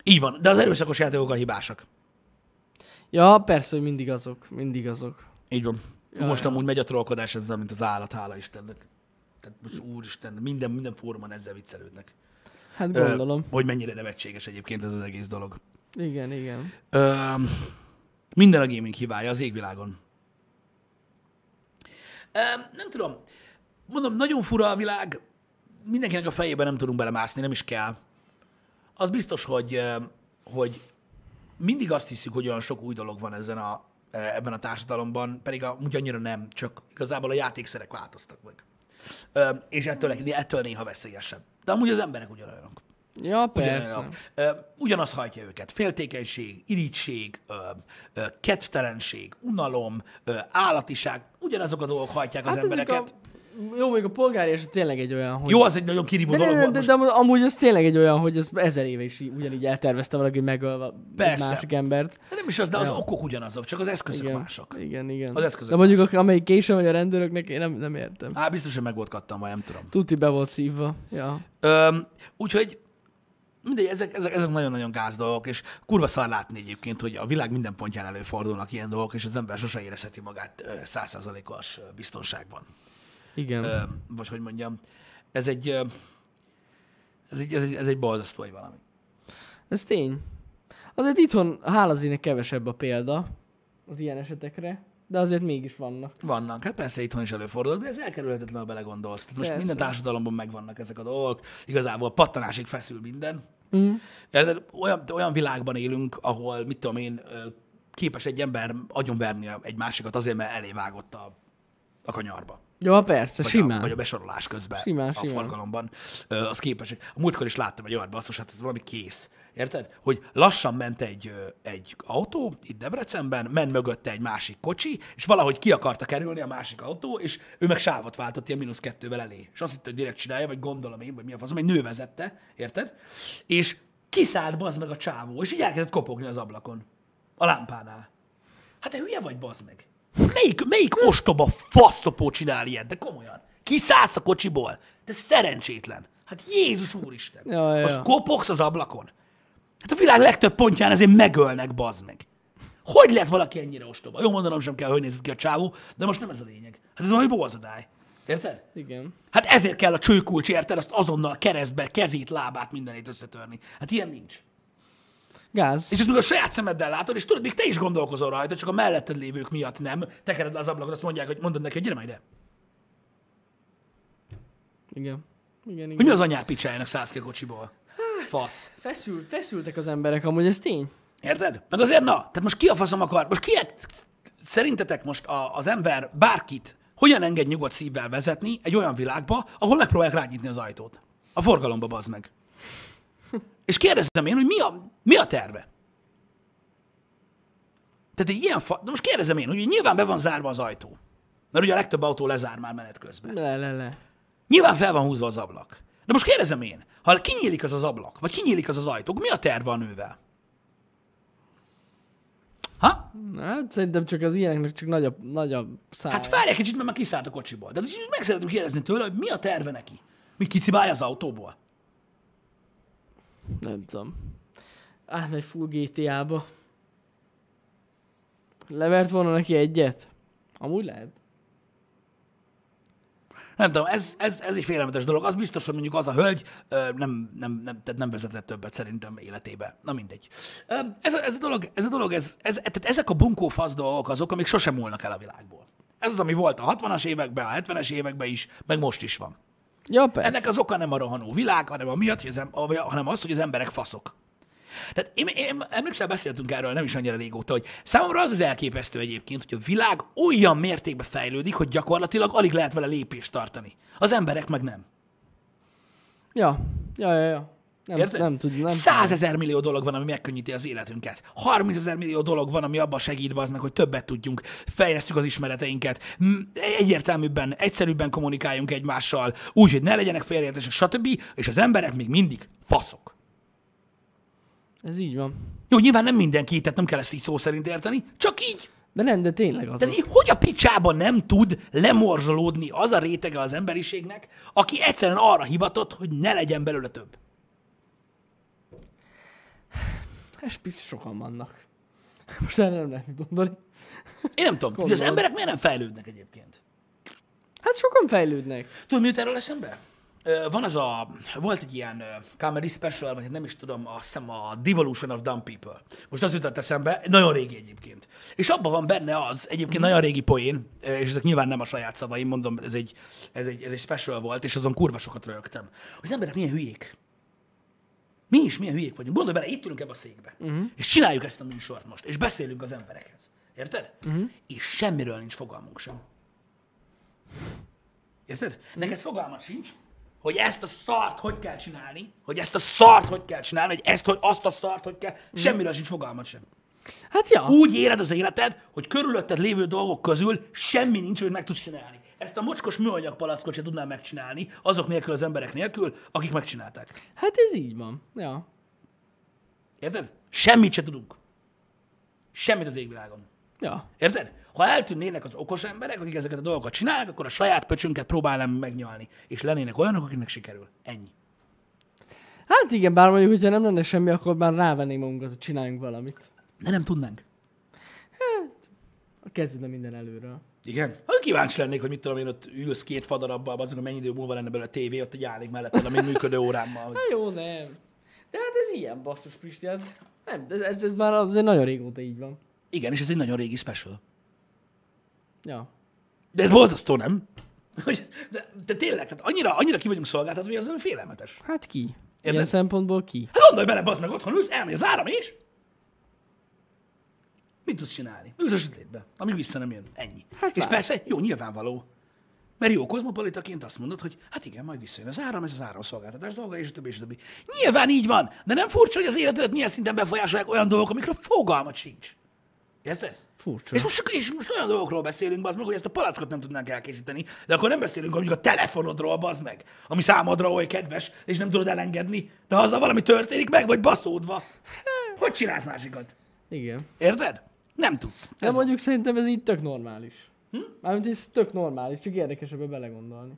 [SPEAKER 2] Így van, de az erőszakos játékok a hibásak.
[SPEAKER 1] Ja, persze, hogy mindig azok. Mindig azok.
[SPEAKER 2] Így van.
[SPEAKER 1] Ja,
[SPEAKER 2] most
[SPEAKER 1] ja.
[SPEAKER 2] amúgy megy a trollkodás ezzel, mint az állat, hála Istennek. Tehát most úristen, minden, minden formán ezzel viccelődnek.
[SPEAKER 1] Hát
[SPEAKER 2] Ö,
[SPEAKER 1] gondolom.
[SPEAKER 2] hogy mennyire nevetséges egyébként ez az egész dolog.
[SPEAKER 1] Igen, igen.
[SPEAKER 2] Ö, minden a gaming hibája az égvilágon. Ö, nem tudom. Mondom, nagyon fura a világ. Mindenkinek a fejében nem tudunk belemászni, nem is kell. Az biztos, hogy, ö, hogy mindig azt hiszük, hogy olyan sok új dolog van ezen a, ebben a társadalomban, pedig amúgy annyira nem, csak igazából a játékszerek változtak meg. Ö, és ettől, ettől néha veszélyesebb. De amúgy az emberek ugyanolyanok.
[SPEAKER 1] Ja, persze.
[SPEAKER 2] Ugyanolyanok. Ö, Ugyanaz hajtja őket. Féltékenység, irigység, ö, ö, kedvtelenség, unalom, ö, állatiság, ugyanazok a dolgok hajtják az
[SPEAKER 1] Hát ezek
[SPEAKER 2] embereket.
[SPEAKER 1] a... Jó, még a polgári eset tényleg egy olyan, hogy...
[SPEAKER 2] Jó, az egy nagyon kirívó
[SPEAKER 1] De,
[SPEAKER 2] dolog
[SPEAKER 1] de, de,
[SPEAKER 2] volt
[SPEAKER 1] de,
[SPEAKER 2] most.
[SPEAKER 1] de, amú- amúgy ez tényleg egy olyan, hogy ez ezer éve is í- ugyanígy eltervezte valaki megölve egy
[SPEAKER 2] Persze.
[SPEAKER 1] másik embert.
[SPEAKER 2] De nem is az, de az
[SPEAKER 1] Ja.
[SPEAKER 2] okok ugyanazok, csak az eszközök
[SPEAKER 1] Igen,
[SPEAKER 2] mások.
[SPEAKER 1] igen, igen.
[SPEAKER 2] Az eszközök
[SPEAKER 1] De mondjuk, ak- amelyik később vagy a rendőröknek, én nem, nem értem.
[SPEAKER 2] Á, biztos, hogy meg volt kattam, vagy nem tudom.
[SPEAKER 1] Tuti be volt szívva. Ja.
[SPEAKER 2] Öm, úgyhogy mindegy, ezek, ezek, ezek nagyon-nagyon gáz dolgok, és kurva szar látni egyébként, hogy a világ minden pontján előfordulnak ilyen dolgok, és az ember sose érezheti magát ö, százszázalékos ö, biztonságban.
[SPEAKER 1] Igen.
[SPEAKER 2] Ö, vagy hogy mondjam, ez egy, ö, ez egy, ez egy, ez egy balzasztó, vagy valami.
[SPEAKER 1] Ez tény. Azért itthon hálazének kevesebb a példa az ilyen esetekre, de azért mégis vannak.
[SPEAKER 2] Vannak, hát persze itthon is előfordulnak, de ez elkerülhetetlen, ha belegondolsz. Tehát Most
[SPEAKER 1] Persze.
[SPEAKER 2] minden társadalomban megvannak ezek a dolgok, igazából pattanásig feszül minden.
[SPEAKER 1] Mm.
[SPEAKER 2] Érted? Olyan, olyan világban élünk, ahol, mit tudom én, ö, képes egy ember agyonverni a- egy másikat azért, mert elévágott a, a kanyarba.
[SPEAKER 1] Ja, persze,
[SPEAKER 2] Vagy
[SPEAKER 1] simán.
[SPEAKER 2] A, vagy a besorolás közben
[SPEAKER 1] Simán,
[SPEAKER 2] a
[SPEAKER 1] simán.
[SPEAKER 2] forgalomban. Ö, az képes. A múltkor is láttam egy olyan basszus, hát ez valami kész. Érted? Hogy lassan ment egy, ö, egy autó itt Debrecenben, ment mögötte egy másik kocsi, és valahogy ki akarta kerülni a másik autó, és ő meg sávot váltott ilyen mínusz kettővel elé. És azt hitte, hogy direkt csinálja, vagy gondolom én, vagy mi a faszom, egy nő vezette, érted? És kiszállt bazd meg a csávó, és így elkezdett kopogni az ablakon. A lámpánál. Hát te hülye vagy, bazd meg. Melyik, melyik ostoba faszopó csinál ilyet, de komolyan. Kiszállsz a kocsiból, de szerencsétlen. Hát Jézus úristen.
[SPEAKER 1] Ja, ja,
[SPEAKER 2] Most
[SPEAKER 1] ja.
[SPEAKER 2] kopogsz az ablakon. Hát a világ legtöbb pontján ezért megölnek, bazd meg. Hogy lett valaki ennyire ostoba? Jó, mondanom sem kell, hogy nézett ki a csávó, de most nem ez a lényeg. Hát ez valami bolzadály. Érted?
[SPEAKER 1] Igen.
[SPEAKER 2] Hát ezért kell a csőkulcs, érted? Azt azonnal keresztbe, kezét, lábát, mindenét összetörni. Hát ilyen nincs.
[SPEAKER 1] Gáz.
[SPEAKER 2] És ezt meg a saját szemeddel látod, és tudod, még te is gondolkozol rajta, csak a melletted lévők miatt nem. Tekered le az ablakot, azt mondják, hogy mondod neki, hogy gyere már ide.
[SPEAKER 1] Igen. Igen,
[SPEAKER 2] Hogy
[SPEAKER 1] igen.
[SPEAKER 2] mi az anyád picsájának 100 kiló kocsiból? Fasz.
[SPEAKER 1] Feszül, feszültek az emberek, amúgy ez tény.
[SPEAKER 2] Érted? Meg azért na, tehát most ki a faszom akar? Most ki szerintetek most a, az ember bárkit hogyan enged nyugodt szívvel vezetni egy olyan világba, ahol megpróbálják rányitni az ajtót? A forgalomba bazd meg. És kérdezem én, hogy mi a, mi a terve? Tehát egy ilyen fa... De most kérdezem én, hogy nyilván be van zárva az ajtó. Mert ugye a legtöbb autó lezár már menet közben.
[SPEAKER 1] Le, le, le.
[SPEAKER 2] Nyilván fel van húzva az ablak. De most kérdezem én, ha kinyílik az az ablak, vagy kinyílik az az ajtó, akkor mi a terve a nővel? Ha?
[SPEAKER 1] Na, Hát szerintem csak az ilyeneknek csak nagyobb, nagyobb száj.
[SPEAKER 2] Hát várj egy kicsit, mert már kiszállt a kocsiból. De így meg szeretném kérdezni tőle, hogy mi a terve neki. Mi kicibálja az autóból?
[SPEAKER 1] Nem tudom. Átmegy full GTA-ba. Levert volna neki egyet? Amúgy lehet.
[SPEAKER 2] Nem tudom, ez, ez, ez egy félelmetes dolog. Az biztos, hogy mondjuk az a hölgy ö, nem, nem, nem, tehát nem vezetett többet szerintem életébe. Na mindegy. Ö, Ez, a- ez a dolog, ez a dolog ez, ez, tehát ezek a bunkó fasz dolgok azok, amik sosem múlnak el a világból. Ez az, ami volt a 60-as években, a 70-es években is, meg most is van.
[SPEAKER 1] Ja, persze.
[SPEAKER 2] Ennek az oka nem a rohanó világ, hanem, amiatt, hogy az em- vagy- hanem az, hogy az emberek faszok. Tehát én, én emlékszel, beszéltünk erről nem is annyira régóta, hogy számomra az az elképesztő egyébként, hogy a világ olyan mértékben fejlődik, hogy gyakorlatilag alig lehet vele lépést tartani. Az emberek meg nem.
[SPEAKER 1] Ja, ja, ja, ja. Nem,
[SPEAKER 2] Érted?
[SPEAKER 1] nem tudjuk, nem
[SPEAKER 2] Százezer millió dolog van, ami megkönnyíti az életünket. 30 ezer millió dolog van, ami abban segít az meg, hogy többet tudjunk, fejlesztjük az ismereteinket, m- egyértelműbben, egyszerűbben kommunikáljunk egymással, úgy, hogy ne legyenek félreértések, stb. És az emberek még mindig faszok.
[SPEAKER 1] Ez így van.
[SPEAKER 2] Jó, nyilván nem mindenki, tehát nem kell ezt így szó szerint érteni, csak így.
[SPEAKER 1] De nem, de tényleg az.
[SPEAKER 2] Tehát így, hogy a picsába nem tud lemorzsolódni az a rétege az emberiségnek, aki egyszerűen arra hivatott, hogy ne legyen belőle több.
[SPEAKER 1] Hát, És biztos sokan vannak. Most erre nem lehet mit mondani.
[SPEAKER 2] Én nem tudom, hogy az
[SPEAKER 1] Gondolod.
[SPEAKER 2] emberek miért nem fejlődnek egyébként.
[SPEAKER 1] Hát sokan fejlődnek.
[SPEAKER 2] Tudod, mi jut erről eszembe? Ö, Van az a, volt egy ilyen ö, comedy special, vagy hát nem is tudom, azt hiszem a Devolution of Dumb People. Most az jutott eszembe, nagyon régi egyébként. És abban van benne az, egyébként nagyon régi poén, ö, és ezek nyilván nem a saját szavaim, mondom, ez egy, ez egy, ez egy special volt, és azon kurva sokat rögtem. Hogy az emberek milyen hülyék. Mi is milyen hülyék vagyunk. Gondolj bele, itt ülünk ebbe a székbe. Uh-huh. És csináljuk ezt a műsort most, és beszélünk az emberekhez. Érted? Uh-huh. És semmiről nincs fogalmunk sem. Érted? Neked fogalmat sincs, hogy ezt a szart hogy kell csinálni, hogy ezt a szart hogy kell csinálni, hogy ezt, hogy azt a szart hogy kell, semmiről sincs fogalmat sem.
[SPEAKER 1] Hát ja.
[SPEAKER 2] Úgy éred az életed, hogy körülötted lévő dolgok közül semmi nincs, hogy meg tudsz csinálni. Ezt a mocskos műanyag palackot se tudnám megcsinálni, azok nélkül az emberek nélkül, akik megcsinálták.
[SPEAKER 1] Hát ez így van. Ja.
[SPEAKER 2] Érted? Semmit se tudunk. Semmit az égvilágon.
[SPEAKER 1] Ja.
[SPEAKER 2] Érted? Ha eltűnnének az okos emberek, akik ezeket a dolgokat csinálják, akkor a saját pöcsünket próbálnám megnyalni. És lennének olyanok, akiknek sikerül. Ennyi.
[SPEAKER 1] Hát igen, bár mondjuk, hogyha nem lenne semmi, akkor már rávennénk magunkat, hogy csináljunk valamit.
[SPEAKER 2] De nem tudnánk.
[SPEAKER 1] A kezdődne minden előről.
[SPEAKER 2] Igen. Ha Hát, kíváncsi lennék, hogy mit tudom én, ott ülsz két fadarabbal, azon, hogy mennyi idő múlva lenne belőle a tévé, ott egy állnék mellett, a még működő órámmal. hogy-
[SPEAKER 1] Hát jó, nem. De hát ez ilyen basszus, Pisti, hát nem, de ez, ez már azért nagyon régóta így van.
[SPEAKER 2] Igen, és ez egy nagyon régi special.
[SPEAKER 1] Ja.
[SPEAKER 2] De ez borzasztó, nem? Hogy, de, de, tényleg, tehát annyira, annyira ki vagyunk szolgáltatva, hogy az olyan félelmetes.
[SPEAKER 1] Hát ki? Ilyen
[SPEAKER 2] Érted?
[SPEAKER 1] szempontból ki?
[SPEAKER 2] Hát gondolj bele, bazd meg, otthon ülsz, elmegy az áram, és? Mit tudsz csinálni? Ülsz a sötétbe, amíg vissza nem jön. Ennyi.
[SPEAKER 1] Hát
[SPEAKER 2] és
[SPEAKER 1] várj.
[SPEAKER 2] persze, jó, nyilvánvaló. Mert jó kozmopolitaként azt mondod, hogy hát igen, majd visszajön az áram, ez az áramszolgáltatás dolga, és a többi, és a többi. Nyilván így van, de nem furcsa, hogy az életedet milyen szinten befolyásolják olyan dolgok, amikről fogalmat sincs. Érted?
[SPEAKER 1] Furcsa.
[SPEAKER 2] És most, sok- és most olyan dolgokról beszélünk, bazd meg, hogy ezt a palackot nem tudnánk elkészíteni, de akkor nem beszélünk mondjuk a telefonodról, bazd meg, ami számodra oly kedves, és nem tudod elengedni, de ha azzal valami történik, meg vagy baszódva. Hogy csinálsz másikat?
[SPEAKER 1] Igen.
[SPEAKER 2] Érted? Nem tudsz.
[SPEAKER 1] De
[SPEAKER 2] Ez van.
[SPEAKER 1] mondjuk szerintem ez így tök normális. Hm? Mármint ez tök normális, csak érdekes ebbe belegondolni.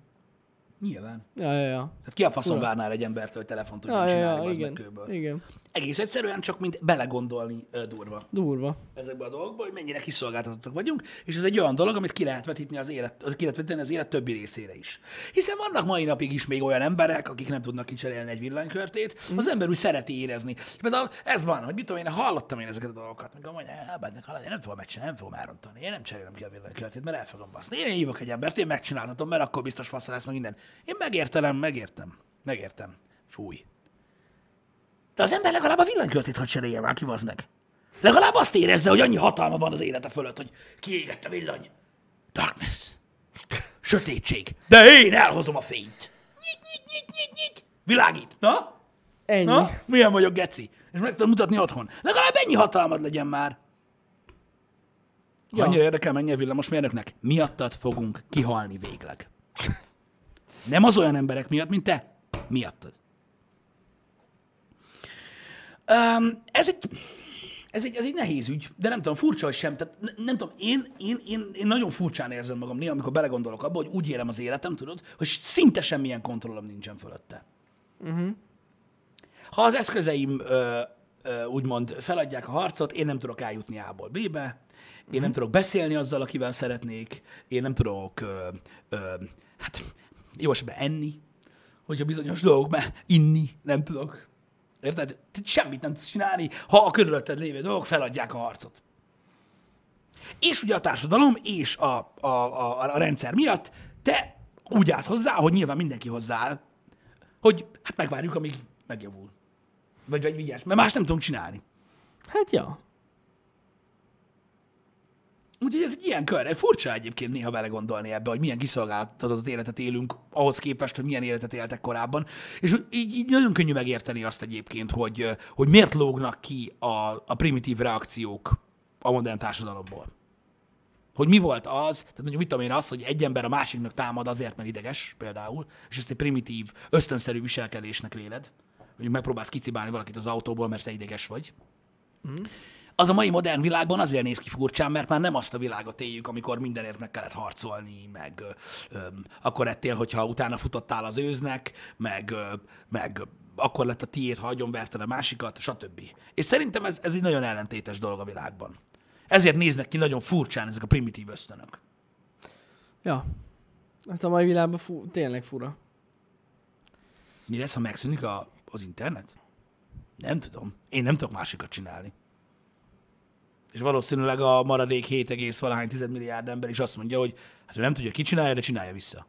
[SPEAKER 2] Nyilván.
[SPEAKER 1] Ja, ja, ja.
[SPEAKER 2] Hát ki a faszon várnál egy embertől, hogy telefont tudjon
[SPEAKER 1] Ja, ja,
[SPEAKER 2] csinálni,
[SPEAKER 1] ja,
[SPEAKER 2] bazd meg
[SPEAKER 1] igen.
[SPEAKER 2] kőből.
[SPEAKER 1] Igen.
[SPEAKER 2] Egész egyszerűen csak, mint belegondolni ö, durva.
[SPEAKER 1] Durva.
[SPEAKER 2] ezekbe a dolgokba, hogy mennyire kiszolgáltatottak vagyunk, és ez egy olyan dolog, amit ki lehet vetíteni az élet, az- ki lehet vetíteni az élet többi részére is. Hiszen vannak mai napig is még olyan emberek, akik nem tudnak kicserélni egy villanykörtét, az ember úgy szereti érezni. És Például ez van, hogy mit tudom én, hallottam én ezeket a dolgokat, amikor mondja, elbednek halad, én nem fogom megcsinálni, nem fogom elrontani, én nem cserélem ki a villanykörtét, mert el fogom baszni. Én hívok egy embert, én megcsinálhatom, mert akkor biztos faszra lesz meg minden. Én megértelem, megértem, megértem. Fúj. De az ember legalább a villanykörtét, hogy cserélje már ki, az meg. Legalább azt érezze, hogy annyi hatalma van az élete fölött, hogy kiégett a villany. Darkness. Sötétség. De én elhozom a fényt. Nyit, nyit, nyit, nyit, nyit. Világít. Na?
[SPEAKER 1] Ennyi.
[SPEAKER 2] Na? Milyen vagyok, geci? És meg tudom mutatni otthon. Legalább ennyi hatalmad legyen már. Ja.
[SPEAKER 1] Ja.
[SPEAKER 2] Annyira érdekel, mennyi a villamosmérnöknek? Miattad fogunk kihalni végleg. Nem az olyan emberek miatt, mint te. Miattad. Um, ez egy... Ez egy, ez egy nehéz ügy, de nem tudom, furcsa hogy sem. Tehát ne, nem tudom, én, én, én, én nagyon furcsán érzem magam néha, amikor belegondolok abba, hogy úgy élem az életem, tudod, hogy szinte semmilyen kontrollom nincsen fölötte. Ha az eszközeim ö, ö, úgymond feladják a harcot, én nem tudok eljutni A-ból B-be, én nem tudok beszélni azzal, akivel szeretnék, én nem tudok, ö, ö, hát jó esetben enni, hogyha bizonyos dolgok, mert inni nem tudok. Érted? Te semmit nem tudsz csinálni, ha a körülötted lévő dolgok feladják a harcot. És ugye a társadalom és a, a, a, a rendszer miatt te úgy állsz hozzá, hogy nyilván mindenki hozzááll, hogy hát megvárjuk, amíg megjavul. Vagy, vagy vigyázz, mert más nem tudunk csinálni.
[SPEAKER 1] Hát ja.
[SPEAKER 2] Úgyhogy ez egy ilyen kör. Furcsa egyébként néha belegondolni ebbe, hogy milyen kiszolgáltatott életet élünk ahhoz képest, hogy milyen életet éltek korábban. És hogy így, így nagyon könnyű megérteni azt egyébként, hogy, ö, hogy miért lógnak ki a, a primitív reakciók a modern társadalomból. Hogy mi volt az, tehát mondjuk mit tudom én, az, hogy egy ember a másiknak támad azért, mert ideges például, és ezt egy primitív, ösztönszerű viselkedésnek véled, hogy megpróbálsz kicibálni valakit az autóból, mert te ideges vagy az a mai modern világban azért néz ki furcsán, mert már nem azt a világot éljük, amikor mindenért meg kellett harcolni, meg ö, ö, akkor ettél, hogyha utána futottál az őznek, meg, ö, meg akkor lett a tiéd, ha agyon verted a másikat, stb. És szerintem ez, ez egy nagyon ellentétes dolog a világban. Ezért néznek ki nagyon furcsán ezek a primitív ösztönök.
[SPEAKER 1] Ja. Hát a mai világban fú, tényleg fura.
[SPEAKER 2] Mi lesz, ha megszűnik a, az internet? Nem tudom. Én nem tudok másikat csinálni. És valószínűleg a maradék 7, egész valahány 10 milliárd ember is azt mondja, hogy hát ő nem tudja, ki csinálja, de csinálja vissza.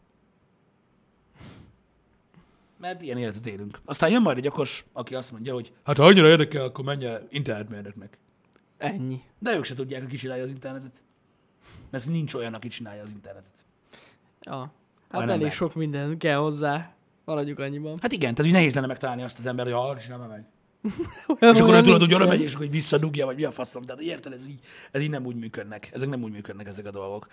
[SPEAKER 2] Mert ilyen életet élünk. Aztán jön majd egy okos, aki azt mondja, hogy hát ha annyira érdekel, akkor menj el internetmérnöknek.
[SPEAKER 1] Ennyi.
[SPEAKER 2] De ők se tudják, hogy ki csinálja az internetet. Mert nincs olyan, aki csinálja az internetet.
[SPEAKER 1] Ja. Hát
[SPEAKER 2] Majdnem
[SPEAKER 1] elég
[SPEAKER 2] meg.
[SPEAKER 1] sok minden kell hozzá. Maradjuk annyiban.
[SPEAKER 2] Hát igen, tehát úgy nehéz lenne megtalálni azt az ember, hogy ha csinálja, meg.
[SPEAKER 1] Olyan
[SPEAKER 2] És akkor ő
[SPEAKER 1] olyan
[SPEAKER 2] tudod, hogy
[SPEAKER 1] nincsen.
[SPEAKER 2] arra megy, és akkor így visszadugja, vagy mi a faszom. Tehát érted, ez így, ez így nem úgy működnek. Ezek nem úgy működnek, ezek a dolgok.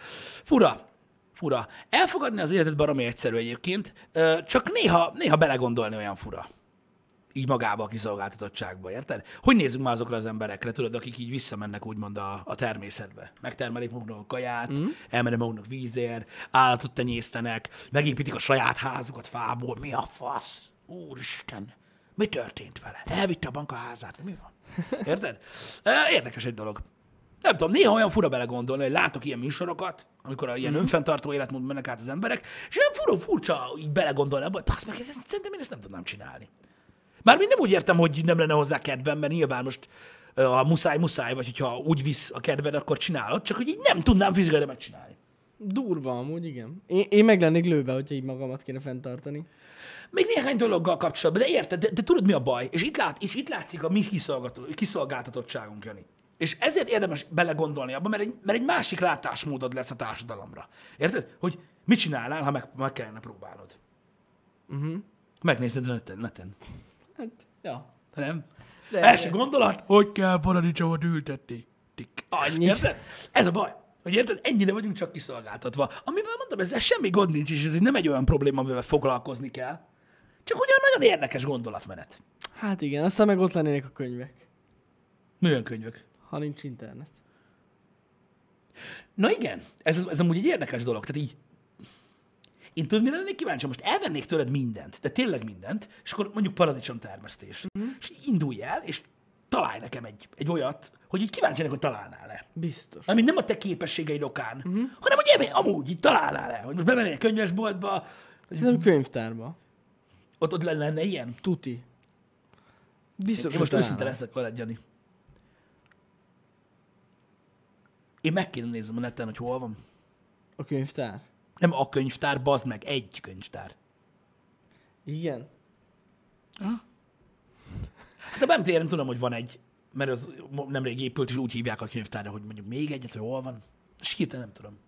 [SPEAKER 2] Fura. Fura. Elfogadni az életet baromi egyszerű egyébként, ö, csak néha, néha belegondolni olyan fura. Így magába a kiszolgáltatottságba, érted? Hogy nézzünk már azokra az emberekre, tudod, akik így visszamennek úgymond a, a természetbe. Megtermelik maguknak a kaját, mm. elmennek maguknak vízért, állatot tenyésztenek, megépítik a saját házukat fából. Mi a fasz? Úristen! Mi történt vele? Elvitte a bank a házát. Mi van? Érted? Ö, Érdekes egy dolog. Nem tudom, néha olyan fura belegondolni, hogy látok ilyen műsorokat, amikor a ilyen mm. önfenntartó életmód mennek át az emberek, és olyan fura, furcsa így belegondolni abba, hogy basz meg, ez- ez- szerintem én ezt nem tudnám csinálni. Mármint nem úgy értem, hogy nem lenne hozzá kedvem, mert nyilván most ö, ha muszáj, muszáj, vagy hogyha úgy visz a kedved, akkor csinálod, csak hogy így nem tudnám fizikailag megcsinálni.
[SPEAKER 1] Durva amúgy, igen. Én, én meg lennék lőve, hogyha így magamat kéne fenntartani.
[SPEAKER 2] Még néhány dologgal kapcsolatban, de érted, de, de tudod mi a baj? És itt, lát, és itt látszik a mi kiszolgató- kiszolgáltatottságunk, Jani. És ezért érdemes belegondolni abba, mert egy, mert egy másik látásmódod lesz a társadalomra. Érted? Hogy mit csinálnál, ha meg, meg kellene próbálnod? Uh-huh. Megnézed a neten, neten.
[SPEAKER 1] Hát, ja.
[SPEAKER 2] Nem?
[SPEAKER 1] De-
[SPEAKER 2] Első gondolat, hogy kell paradicsomot ültetni. Tik.
[SPEAKER 1] Annyi.
[SPEAKER 2] Érted? Ez a baj. Hogy érted, ennyire vagyunk csak kiszolgáltatva. Amivel mondom, ezzel semmi gond nincs, és ez így nem egy olyan probléma, amivel foglalkozni kell. Csak ugyan nagyon érdekes gondolatmenet.
[SPEAKER 1] Hát igen, aztán meg ott lennének a könyvek,
[SPEAKER 2] Milyen könyvök?
[SPEAKER 1] ha nincs internet.
[SPEAKER 2] Na igen, ez, ez amúgy egy érdekes dolog. Tehát így, én tudod, mire lennék kíváncsi? Most elvennék tőled mindent, de tényleg mindent, és akkor mondjuk paradicsom termesztés.
[SPEAKER 1] Mhm.
[SPEAKER 2] Mm-hmm. És így indulj el, és találj nekem egy, egy olyat, hogy így kíváncsi lennék, hogy találnál-e.
[SPEAKER 1] Biztos.
[SPEAKER 2] Ami nem a te képességeid okán,
[SPEAKER 1] Mhm.
[SPEAKER 2] uh-huh. hanem hogy ebben amúgy így találnál le, hogy most bemennél egy könyvesboltba, hogy
[SPEAKER 1] Szerintem könyvtárba.
[SPEAKER 2] ott, ott lenne, lenne ilyen.
[SPEAKER 1] Tuti. Biztos,
[SPEAKER 2] Én most
[SPEAKER 1] hogy
[SPEAKER 2] őszinte
[SPEAKER 1] találom.
[SPEAKER 2] leszek veled, Jani. Én meg kéne néznem a neten, hogy hol van.
[SPEAKER 1] A könyvtár.
[SPEAKER 2] Nem a könyvtár, bazd meg, egy könyvtár.
[SPEAKER 1] Igen.
[SPEAKER 2] Hát a BMTR-en tudom, hogy van egy, mert az mo- nemrég épült, és úgy hívják a könyvtárra, hogy mondjuk még egyet, hogy hol van. És hirtelen nem tudom.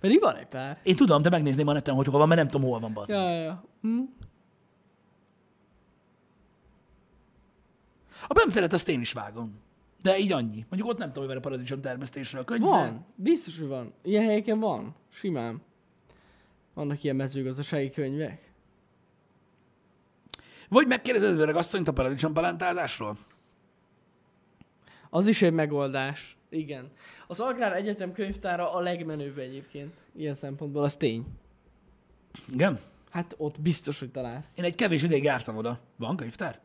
[SPEAKER 1] Pedig van egy pár.
[SPEAKER 2] Én tudom, de megnézném a neten, hogy hol van, mert nem tudom, hol van, bazd.
[SPEAKER 1] Ja, ja, ja. Hm?
[SPEAKER 2] A bemteret azt én is vágom. De így annyi. Mondjuk ott nem tudom, hogy van a paradicsom termesztésről a könyv. de-
[SPEAKER 1] Van. Biztos, hogy van. Ilyen helyeken van. Simán. Vannak ilyen mezőgazdasági könyvek.
[SPEAKER 2] Vagy megkérdezed az öreg asszonyt a paradicsom palántázásról?
[SPEAKER 1] Az is egy megoldás. Igen. Az Agrár Egyetem könyvtára a legmenőbb egyébként. Ilyen szempontból, az tény.
[SPEAKER 2] Igen.
[SPEAKER 1] Hát ott biztos, hogy találsz.
[SPEAKER 2] Én egy kevés ideig jártam oda. Van könyvtár?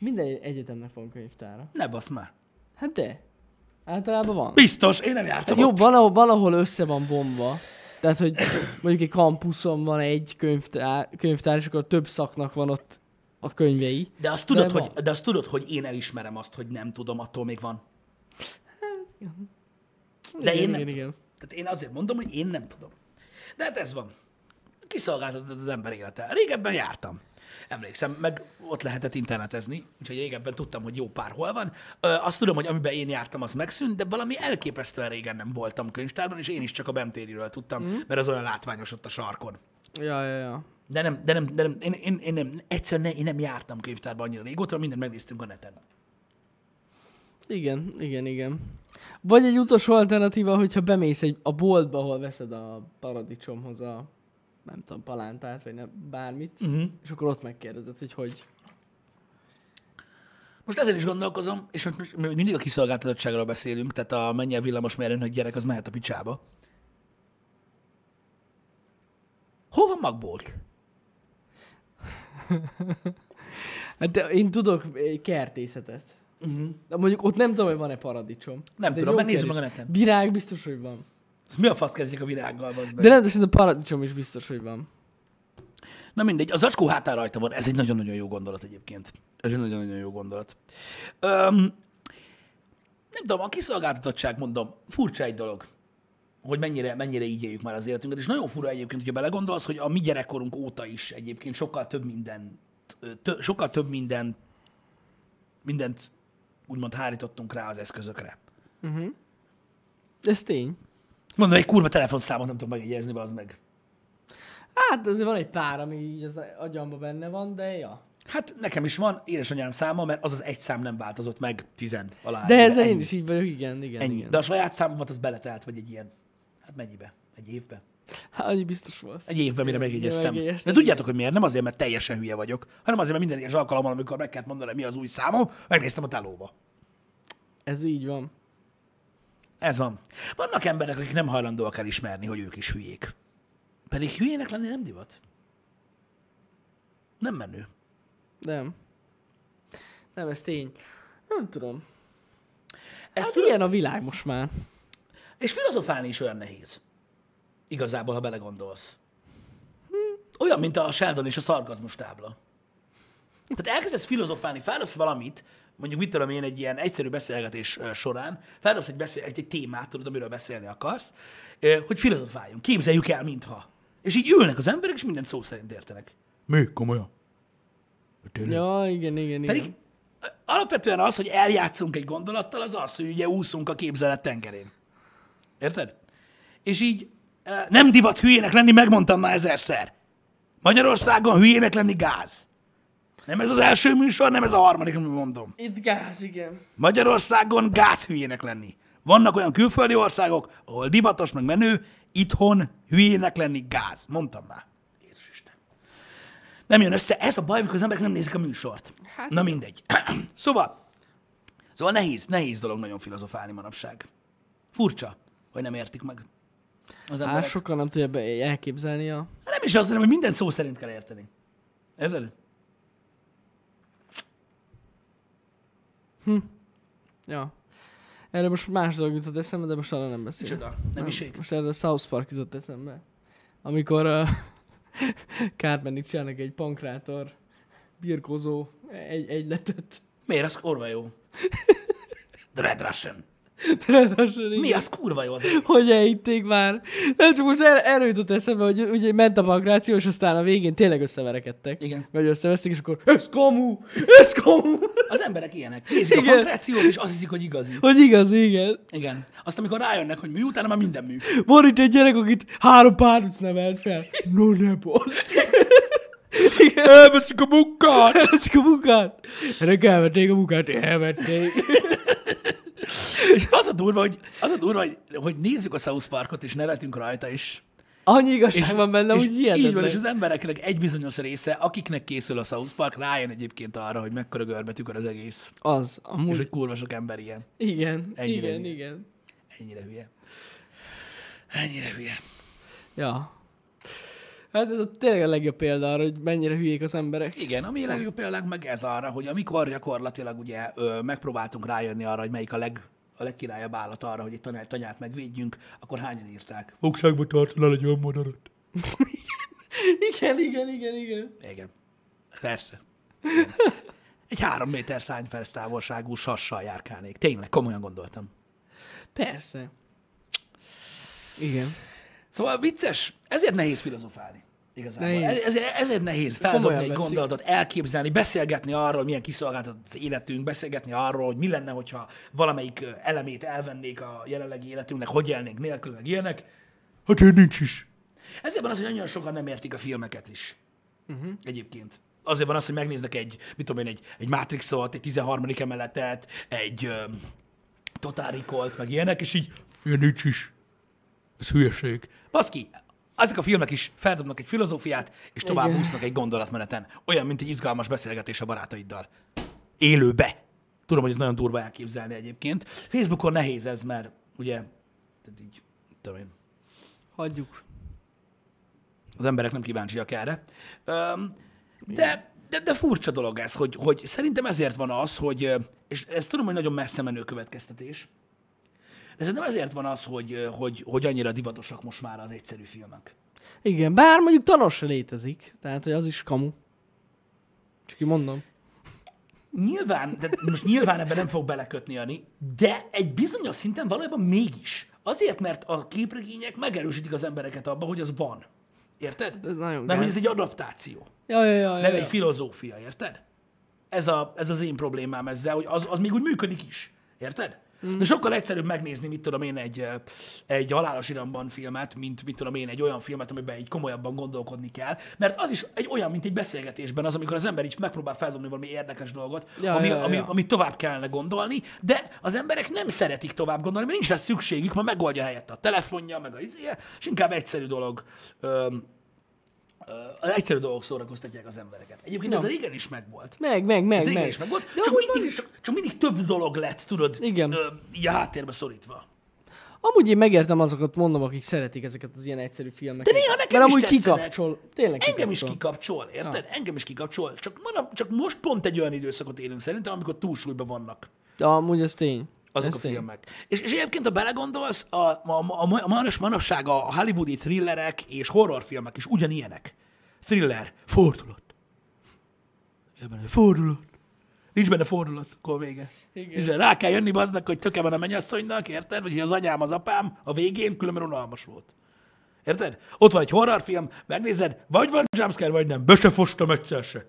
[SPEAKER 1] Minden egyetemnek van könyvtára.
[SPEAKER 2] Ne basz már.
[SPEAKER 1] Hát de. Általában van.
[SPEAKER 2] Biztos, én nem jártam
[SPEAKER 1] Jó,
[SPEAKER 2] ott.
[SPEAKER 1] valahol, valahol össze van bomba. Tehát, hogy mondjuk egy kampuszon van egy könyvtár, könyvtár, és akkor több szaknak van ott a könyvei.
[SPEAKER 2] De azt, tudod,
[SPEAKER 1] De
[SPEAKER 2] hogy, de azt tudod, hogy én elismerem azt, hogy nem tudom, attól még van. De én nem
[SPEAKER 1] igen, igen.
[SPEAKER 2] Tehát én azért mondom, hogy én nem tudom. De hát ez van. Kiszolgáltatott az ember élete. Régebben jártam. Emlékszem, meg ott lehetett internetezni, úgyhogy régebben tudtam, hogy jó pár hol van. Ö, azt tudom, hogy amiben én jártam, az megszűnt, de valami elképesztően régen nem voltam könyvtárban, és én is csak a Bemtériről tudtam, mm. mert az olyan látványos ott a sarkon.
[SPEAKER 1] Ja, ja, ja.
[SPEAKER 2] De nem, de nem, de nem, én, én, én nem, egyszerűen ne, én nem jártam könyvtárban annyira régóta, mindent megnéztünk a neten.
[SPEAKER 1] Igen, igen, igen. Vagy egy utolsó alternatíva, hogyha bemész egy, a boltba, ahol veszed a paradicsomhoz a, nem tudom, palántát, vagy nem, bármit,
[SPEAKER 2] Mhm.
[SPEAKER 1] és akkor ott megkérdezed, hogy hogy.
[SPEAKER 2] Most ezen is gondolkozom, és most- most mi mindig a kiszolgáltatottságról beszélünk, tehát a mennyi a villamos mérőn, hogy gyerek, az mehet a picsába. Hol van magbolt?
[SPEAKER 1] Hát de Mhm. én tudok egy kertészetet.
[SPEAKER 2] Uh-huh.
[SPEAKER 1] De mondjuk ott nem tudom, hogy van-e paradicsom.
[SPEAKER 2] Nem
[SPEAKER 1] Ez egy
[SPEAKER 2] tudom,
[SPEAKER 1] jó
[SPEAKER 2] mert nézzük
[SPEAKER 1] kérdés.
[SPEAKER 2] meg a neten.
[SPEAKER 1] Virág biztos, hogy van.
[SPEAKER 2] Ez mi a fasz kezdjük a virággal, az
[SPEAKER 1] De nem, de szerintem paradicsom is biztos, hogy van.
[SPEAKER 2] Na mindegy, az zacskó hátán rajta van. Ez egy nagyon-nagyon jó gondolat egyébként. Ez egy nagyon-nagyon jó gondolat. Öm, nem tudom, a kiszolgáltatottság, mondom, furcsa egy dolog, hogy mennyire, mennyire így éljük már az életünket, és nagyon fura egyébként, hogyha belegondolsz, hogy a mi gyerekkorunk óta is egyébként sokkal több minden, tö, sokkal több minden, mindent úgymond hárítottunk rá az eszközökre.
[SPEAKER 1] Ez tény.
[SPEAKER 2] Mondom, egy kurva telefonszámot nem tudom megjegyezni, az meg.
[SPEAKER 1] Hát azért van egy pár, ami így az agyamba benne van, de ja.
[SPEAKER 2] Hát nekem is van édesanyám száma, mert az az egy szám nem változott meg tizen alá.
[SPEAKER 1] De ezzel
[SPEAKER 2] Ennyi.
[SPEAKER 1] én is így vagyok, igen, igen,
[SPEAKER 2] Ennyi.
[SPEAKER 1] igen.
[SPEAKER 2] De a saját számomat az beletelt, vagy egy ilyen. Hát mennyibe? Egy évbe?
[SPEAKER 1] Hát, annyi biztos volt.
[SPEAKER 2] Egy évben mire megjegyeztem.
[SPEAKER 1] megjegyeztem,
[SPEAKER 2] De tudjátok, hogy miért? Nem azért, mert teljesen hülye vagyok, hanem azért, mert minden egyes alkalommal, amikor meg kellett mondanom, mi az új számom, megnéztem a telóba.
[SPEAKER 1] Ez így van.
[SPEAKER 2] Ez van. Vannak emberek, akik nem hajlandóak elismerni, hogy ők is hülyék. Pedig hülyének lenni nem divat. Nem menő.
[SPEAKER 1] Nem. Nem, ez tény. Nem tudom.
[SPEAKER 2] Ezt
[SPEAKER 1] Ez hát
[SPEAKER 2] tudod-
[SPEAKER 1] ilyen a világ most már.
[SPEAKER 2] És filozofálni is olyan nehéz. Igazából, ha belegondolsz. Hm. Olyan, mint a Sheldon és a szarkazmus tábla. Tehát elkezdesz filozofálni, feldobsz valamit, mondjuk mit tudom én, egy ilyen egyszerű beszélgetés ö, során, feldobsz egy, beszél, egy, egy témát, tudod, amiről beszélni akarsz, ö, hogy filozofáljunk, képzeljük el, mintha. És így ülnek az emberek, és mindent szó szerint értenek. Mi? Komolyan? Tényleg?
[SPEAKER 1] Ja, igen, igen, igen.
[SPEAKER 2] Pedig ö, alapvetően az, hogy eljátszunk egy gondolattal, az az, hogy ugye úszunk a képzelet tengerén. Érted? És így ö, nem divat hülyének lenni, megmondtam már ezerszer. Magyarországon hülyének lenni gáz. Nem ez az első műsor, nem ez a harmadik, amit mondom.
[SPEAKER 1] Itt gáz, igen.
[SPEAKER 2] Magyarországon gáz hülyének lenni. Vannak olyan külföldi országok, ahol divatos, meg menő, itthon hülyének lenni gáz. Mondtam már. Jézus Isten. Nem jön össze. Ez a baj, amikor az emberek nem nézik a műsort. Hát, Na mindegy. szóval, szóval nehéz, nehéz dolog nagyon filozofálni manapság. Furcsa, hogy nem értik meg az
[SPEAKER 1] Á,
[SPEAKER 2] emberek. Hát,
[SPEAKER 1] sokan nem tudja be- elképzelni a...
[SPEAKER 2] nem is az, hanem, hogy mindent szó szerint kell érteni. Érted?
[SPEAKER 1] Ja. Erre most más dolog jutott eszembe, de most arra nem beszélek.
[SPEAKER 2] Micsoda? Nem is ég?
[SPEAKER 1] Most erről a South Park jutott eszembe. Amikor uh, Cartmanik csinálnak egy pankrátor birkózó egy egyletet.
[SPEAKER 2] Miért? Az kurva jó. The Red Russian.
[SPEAKER 1] Ráadásul így-
[SPEAKER 2] Mi az kurva jó az egész?
[SPEAKER 1] hogy elhitték már. Nem csak most er- erről jutott eszembe, hogy ugye ment a pankráció, és aztán a végén tényleg összeverekedtek.
[SPEAKER 2] Igen.
[SPEAKER 1] Vagy összevesztek, és akkor ez kamu! Ez kamu!
[SPEAKER 2] Az emberek ilyenek. Nézik a
[SPEAKER 1] Igen.
[SPEAKER 2] pankrációt, és azt hiszik, hogy igazi.
[SPEAKER 1] Hogy igaz, igen.
[SPEAKER 2] Igen. Azt, amikor rájönnek, hogy mi utána már minden mű.
[SPEAKER 1] Van itt egy gyerek, akit három párduc nevelt fel. No, ne basz.
[SPEAKER 2] Elveszik a munkát!
[SPEAKER 1] Elveszik a munkát. Ennek elvették a munkát, elvették.
[SPEAKER 2] És az a durva, hogy, az a durva, hogy, hogy nézzük a South Parkot, és nevetünk rajta, és,
[SPEAKER 1] Annyi igazság van benne,
[SPEAKER 2] és
[SPEAKER 1] hogy
[SPEAKER 2] így van, és
[SPEAKER 1] hihetetlen.
[SPEAKER 2] az embereknek egy bizonyos része, akiknek készül a South Park, rájön egyébként arra, hogy mekkora görbe tükör az egész.
[SPEAKER 1] Az,
[SPEAKER 2] És
[SPEAKER 1] amúgy.
[SPEAKER 2] hogy kurva sok ember ilyen.
[SPEAKER 1] Igen,
[SPEAKER 2] Ennyire
[SPEAKER 1] igen,
[SPEAKER 2] ennyi.
[SPEAKER 1] igen.
[SPEAKER 2] Ennyire hülye. Ennyire hülye.
[SPEAKER 1] Ja. Hát ez a tényleg a legjobb példa arra, hogy mennyire hülyék az emberek.
[SPEAKER 2] Igen, a mi legjobb példánk meg ez arra, hogy amikor gyakorlatilag ugye ö, megpróbáltunk rájönni arra, hogy melyik a leg a legkirályabb állat arra, hogy egy tanyát, tanyát megvédjünk, akkor hányan írták? Fogságba tartanál egy olyan madarat.
[SPEAKER 1] Igen, igen, igen, igen.
[SPEAKER 2] Igen. Persze. Egy három méter szányfersz távolságú sassal járkálnék. Tényleg, komolyan gondoltam.
[SPEAKER 1] Persze. Igen.
[SPEAKER 2] Szóval vicces, ezért nehéz filozofálni. Igazából.
[SPEAKER 1] Nehéz.
[SPEAKER 2] Nehéz. Ezért, ezért nehéz
[SPEAKER 1] Komolyan
[SPEAKER 2] feldobni egy
[SPEAKER 1] veszik.
[SPEAKER 2] gondolatot, elképzelni, beszélgetni arról, hogy milyen kiszolgáltatott az életünk, beszélgetni arról, hogy mi lenne, hogyha valamelyik ö, elemét elvennék a jelenlegi életünknek, hogy élnénk nélkül, meg ilyenek. Hát én nincs is. Ezért van az, hogy nagyon sokan nem értik a filmeket is.
[SPEAKER 1] Mhm.
[SPEAKER 2] Uh-huh. Egyébként. Azért van az, hogy megnéznek egy, mit tudom én, egy, egy Matrixot, egy 13. emeletet, egy um, Total Recall-t, meg ilyenek, és így, ilyen nincs is. Ez hülyeség. Baszki, ezek a filmek is feldobnak egy filozófiát, és tovább
[SPEAKER 1] Igen.
[SPEAKER 2] úsznak egy gondolatmeneten. Olyan, mint egy izgalmas beszélgetés a barátaiddal. Élőbe. Tudom, hogy ez nagyon durva elképzelni egyébként. Facebookon nehéz ez, mert ugye, tehát így, mit tudom én,
[SPEAKER 1] Hagyjuk.
[SPEAKER 2] az emberek nem kíváncsiak erre. Öm, de, de, de furcsa dolog ez, hogy, hogy szerintem ezért van az, hogy, ö, és ez tudom, hogy nagyon messze menő következtetés, de szerintem ezért van az, hogy, ö, hogy, hogy annyira divatosak most már az egyszerű filmek.
[SPEAKER 1] Igen, bár mondjuk Thanos se létezik, tehát hogy az is kamu. Csak így mondom.
[SPEAKER 2] Nyilván, de most nyilván ebben nem fog belekötni Ani, de egy bizonyos szinten valójában mégis. Azért, mert a képregények megerősítik az embereket abba, hogy az van. Érted?
[SPEAKER 1] Ez nagyon
[SPEAKER 2] Mert hogy
[SPEAKER 1] gáz.
[SPEAKER 2] ez egy adaptáció.
[SPEAKER 1] Ja, ja, ja, ja,
[SPEAKER 2] nem
[SPEAKER 1] ja.
[SPEAKER 2] egy filozófia, érted? Ez, a, ez az én problémám ezzel, hogy az, az még úgy működik is, érted?
[SPEAKER 1] Mm.
[SPEAKER 2] De sokkal egyszerűbb megnézni, mit tudom én, egy, ö, egy halálos iramban filmet, mint mit tudom én, egy olyan filmet, amiben így komolyabban gondolkodni kell, mert az is egy olyan, mint egy beszélgetésben az, amikor az ember is megpróbál feldobni valami érdekes dolgot,
[SPEAKER 1] Ja,
[SPEAKER 2] ami,
[SPEAKER 1] ja, ja.
[SPEAKER 2] ami, amit tovább kellene gondolni, de az emberek nem szeretik tovább gondolni, mert nincs rá szükségük, ma megoldja helyett a telefonja, meg a izéje, és inkább egyszerű dolog öm, az egyszerű dolgok szórakoztatják az embereket. Egyébként ez régen is megvolt.
[SPEAKER 1] Meg, meg, meg,
[SPEAKER 2] Ez
[SPEAKER 1] meg.
[SPEAKER 2] régen is megvolt,
[SPEAKER 1] De
[SPEAKER 2] csak
[SPEAKER 1] amúgy van
[SPEAKER 2] mindig, csak, csak mindig több dolog lett, tudod,
[SPEAKER 1] Igen.
[SPEAKER 2] Ö, így a háttérbe szorítva.
[SPEAKER 1] Amúgy én megértem azokat, mondom, akik szeretik ezeket az ilyen egyszerű filmeket.
[SPEAKER 2] De néha nekem
[SPEAKER 1] Mert
[SPEAKER 2] is
[SPEAKER 1] amúgy
[SPEAKER 2] tetszene.
[SPEAKER 1] kikapcsol. Tényleg
[SPEAKER 2] Engem is
[SPEAKER 1] kikapcsol. Ah.
[SPEAKER 2] kikapcsol, érted? Engem is kikapcsol. Csak, mondom, csak most pont egy olyan időszakot élünk szerintem, amikor túlsúlyban vannak
[SPEAKER 1] De amúgy ez tény.
[SPEAKER 2] azok
[SPEAKER 1] ez
[SPEAKER 2] a filmek. És, és egyébként, ha belegondolsz, a, a, a, a manos manapság a hollywoodi thrillerek és horrorfilmek is ugyanilyenek. Thriller, fordulat. Igen, benne fordulat. Nincs benne fordulat, akkor vége.
[SPEAKER 1] Igen.
[SPEAKER 2] És rá kell jönni bazd meg, hogy töke van a mennyasszonynak, érted? Vagy hogy az anyám, az apám a végén különben unalmas volt. Érted? Ott van egy horrorfilm, megnézed, vagy van jumpscare, vagy nem. Be se fostam egyszer se.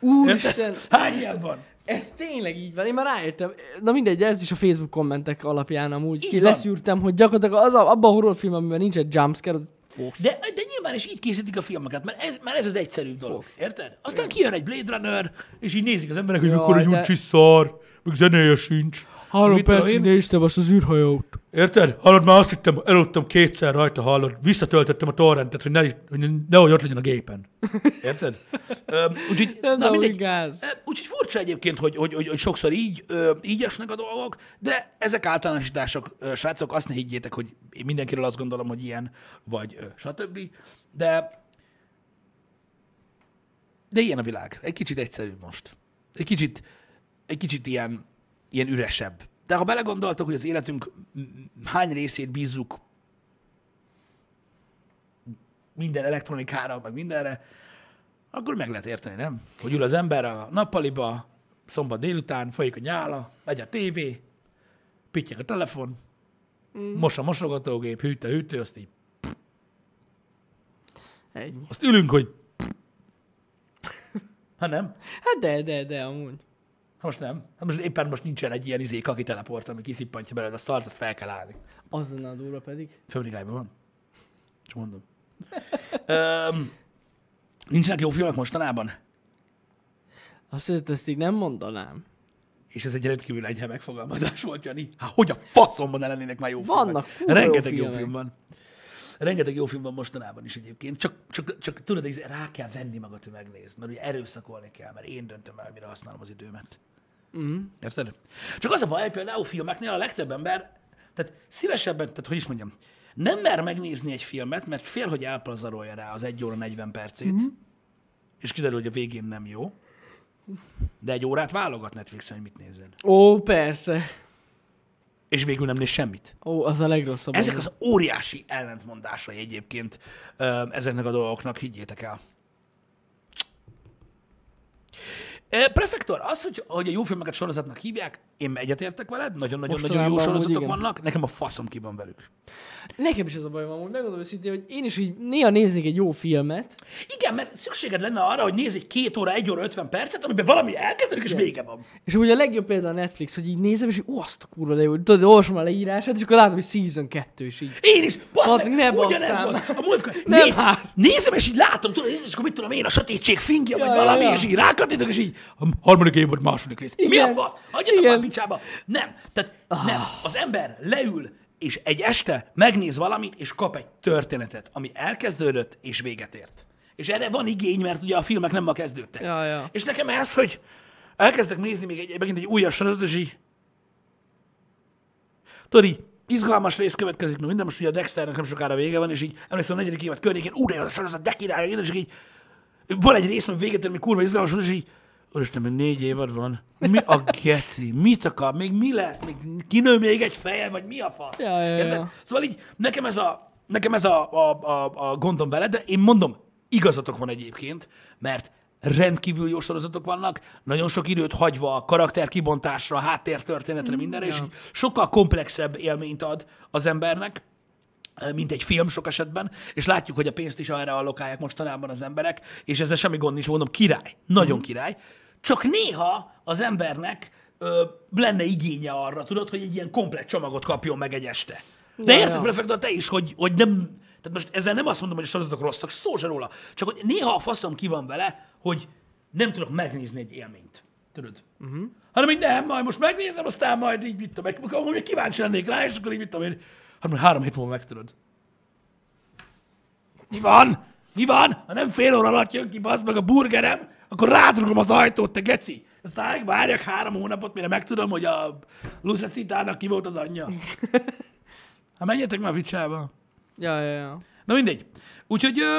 [SPEAKER 1] Úristen!
[SPEAKER 2] Érted? Hány ilyen van?
[SPEAKER 1] Ez tényleg így van, én már rájöttem. Na mindegy, ez is a Facebook kommentek alapján amúgy.
[SPEAKER 2] Így
[SPEAKER 1] Így
[SPEAKER 2] van.
[SPEAKER 1] leszűrtem, hogy gyakorlatilag az a, abban a horrorfilmben, amiben nincs egy jumpscare, az fos.
[SPEAKER 2] De, de nyilván is így készítik a filmeket, mert ez, mert ez az egyszerűbb dolog. Érted? Aztán kijön egy Blade Runner, és így nézik az emberek, hogy
[SPEAKER 1] Jaj,
[SPEAKER 2] mikor egy
[SPEAKER 1] de-
[SPEAKER 2] úgyis szar, meg zenéje sincs.
[SPEAKER 1] Három
[SPEAKER 2] Mit tudom
[SPEAKER 1] percig
[SPEAKER 2] én?
[SPEAKER 1] néztem azt az űrhajót.
[SPEAKER 2] Érted? Hallod, már azt hittem, eludtam kétszer rajta, hallod. Visszatöltöttem a torrentet, hogy, ne, hogy nehogy ott legyen a gépen. Érted? Öm, úgyhogy,
[SPEAKER 1] Ez
[SPEAKER 2] na,
[SPEAKER 1] amúgy
[SPEAKER 2] mindegy.
[SPEAKER 1] gáz.
[SPEAKER 2] Ö, Úgyhogy furcsa egyébként, hogy, hogy, hogy, hogy sokszor így, ö, így esnek a dolgok, de ezek általánosítások, ö, srácok, azt ne higgyétek, hogy én mindenkiről azt gondolom, hogy ilyen, vagy ö, stb. De, de ilyen a világ. Egy kicsit egyszerűbb most. Egy kicsit, egy kicsit ilyen, ilyen üresebb. De ha belegondoltok, hogy az életünk m- m- hány részét bízzuk minden elektronikára, meg mindenre, akkor meg lehet érteni, nem? Hogy ül az ember a nappaliba, szombat délután, folyik a nyála, megy a tévé, pittyek a telefon, mm. mos a mosogatógép, hűt a hűtő, azt így,
[SPEAKER 1] Ennyi.
[SPEAKER 2] azt ülünk, hogy ha nem,
[SPEAKER 1] Hát de, de, de, amúgy.
[SPEAKER 2] most nem. Hát most éppen most nincsen egy ilyen izé kaki teleport, ami kiszippantja belőle a szart, azt fel kell állni.
[SPEAKER 1] Az lenne a durva pedig.
[SPEAKER 2] Föbrigájban van. Csak mondom. Öm, nincsenek jó filmek mostanában?
[SPEAKER 1] Azt, hogy ezt így nem mondanám.
[SPEAKER 2] És ez egy rendkívül enyhe megfogalmazás volt, Jani. Há, hogy a faszomban ne lennének már jó
[SPEAKER 1] Vannak
[SPEAKER 2] filmek?
[SPEAKER 1] kurva jó
[SPEAKER 2] Rengeteg jó,
[SPEAKER 1] filmek.
[SPEAKER 2] film van. Rengeteg jó film van mostanában is egyébként. Csak, csak, csak tudod, ez rá kell venni magad, hogy megnézd, mert ugye erőszakolni kell, mert én döntöm el, mire használom az időmet.
[SPEAKER 1] Mhm.
[SPEAKER 2] Mm. Érted? Csak az a baj, hogy például filmeknél a legtöbb ember, tehát szívesebben, tehát hogy is mondjam, nem mer megnézni egy filmet, mert fél, hogy elpazarolja rá az 1 óra 40 percét,
[SPEAKER 1] Mhm.
[SPEAKER 2] mm. és kiderül, hogy a végén nem jó, de egy órát válogat Netflixen, hogy mit nézzen.
[SPEAKER 1] Ó, persze.
[SPEAKER 2] És végül nem néz semmit.
[SPEAKER 1] Ó, az a legrosszabb.
[SPEAKER 2] Ezek az óriási ellentmondásai egyébként ö, ezeknek a dolgoknak, higgyétek el. Ö, Prefektor, az, hogy, hogy a jó filmeket sorozatnak hívják, én egyetértek veled, nagyon-nagyon-nagyon jó
[SPEAKER 1] Mostanában amúgy
[SPEAKER 2] sorozatok
[SPEAKER 1] igen.
[SPEAKER 2] vannak, nekem a faszom ki van velük.
[SPEAKER 1] Nekem is ez a bajom amúgy. Megmondom őszintén, hogy én is így néha néznék egy jó filmet.
[SPEAKER 2] Igen, mert szükséged lenne arra, hogy nézz egy két óra, egy óra, ötven percet, amiben valami elkezdődik, és vége van.
[SPEAKER 1] És ugye a legjobb példa a Netflix, hogy így nézem, és így, ó, azt a kurva, de jó, tudod, olvasom a leírását, és akkor látom, hogy Season 2 is így.
[SPEAKER 2] Én is,
[SPEAKER 1] Bazd
[SPEAKER 2] bazd
[SPEAKER 1] meg,
[SPEAKER 2] meg,
[SPEAKER 1] ne
[SPEAKER 2] ugyanez
[SPEAKER 1] basszál
[SPEAKER 2] volt. A múltkor,
[SPEAKER 1] Nem hát.
[SPEAKER 2] né-
[SPEAKER 1] már.
[SPEAKER 2] nézem, és így látom, tudod, nézd, és akkor mit tudom én, a sötétség fingja, vagy
[SPEAKER 1] Ja,
[SPEAKER 2] valami,
[SPEAKER 1] ja, ja.
[SPEAKER 2] és így rákattintok, és így a harmadik év volt második rész. Mi a
[SPEAKER 1] Igen.
[SPEAKER 2] fasz? Hagyjatok
[SPEAKER 1] Igen.
[SPEAKER 2] már picsába. Nem, tehát nem.
[SPEAKER 1] Ah.
[SPEAKER 2] Az ember leül, és egy este megnéz valamit, és kap egy történetet, ami elkezdődött, és véget ért. És erre van igény, mert ugye a filmek nem ma kezdődtek.
[SPEAKER 1] Ja, ja.
[SPEAKER 2] És nekem ez, hogy elkezdek nézni még egy, megint egy újabb sorozatot, és így tudod így, izgalmas rész következik, mert minden most ugye a Dexternek nem sokára vége van, és így emlékszem a negyedik évad környékén, ú, de jó a sorozat, de király, és így van egy rész, ami véget ér, ami kurva izgalmas volt, és így, Úristen, még négy évad van. Mi a geci? Mit akar? Még mi lesz? Még kinő még egy feje, vagy mi a fasz?
[SPEAKER 1] Ja, ja,
[SPEAKER 2] Érted?
[SPEAKER 1] ja.
[SPEAKER 2] Szóval így nekem ez a, nekem ez a, a, a, a gondom vele, de én mondom, igazatok van egyébként, mert rendkívül jó sorozatok vannak, nagyon sok időt hagyva a karakter kibontásra, a
[SPEAKER 1] Mm,
[SPEAKER 2] háttértörténetre, mindenre, és így sokkal komplexebb élményt ad az embernek, mint egy film sok esetben, és látjuk, hogy a pénzt is erre allokálják mostanában az emberek, és ezzel semmi gond nincs, mondom, király, nagyon
[SPEAKER 1] Mhm.
[SPEAKER 2] király. Csak néha az embernek ö, lenne igénye arra, tudod, hogy egy ilyen komplet csomagot kapjon meg egy este. De
[SPEAKER 1] Ja,
[SPEAKER 2] érted,
[SPEAKER 1] ja.
[SPEAKER 2] prefektor, te is, hogy, hogy nem... Tehát most ezzel nem azt mondom, hogy a sorozatok rosszak, szó se róla. Csak hogy néha a faszom ki van vele, hogy nem tudok megnézni egy élményt. Tudod? Uh-huh. Hanem így nem, majd most megnézem, aztán majd így mit tudom, meg- amúgy még kíváncsi lennék rá, és akkor így mit tudom én. Hát majd három hét múlva megtudod. Mi van? Mi van? Ha nem fél óra alatt jön ki, bazd meg a burgerem, akkor rádrugom az ajtót, te geci. Aztán várjak három hónapot, mire megtudom, hogy a Lucecitának ki volt az anyja. Hát menjetek már vicsába.
[SPEAKER 1] Ja, ja, ja.
[SPEAKER 2] Na mindegy. Úgyhogy, ö,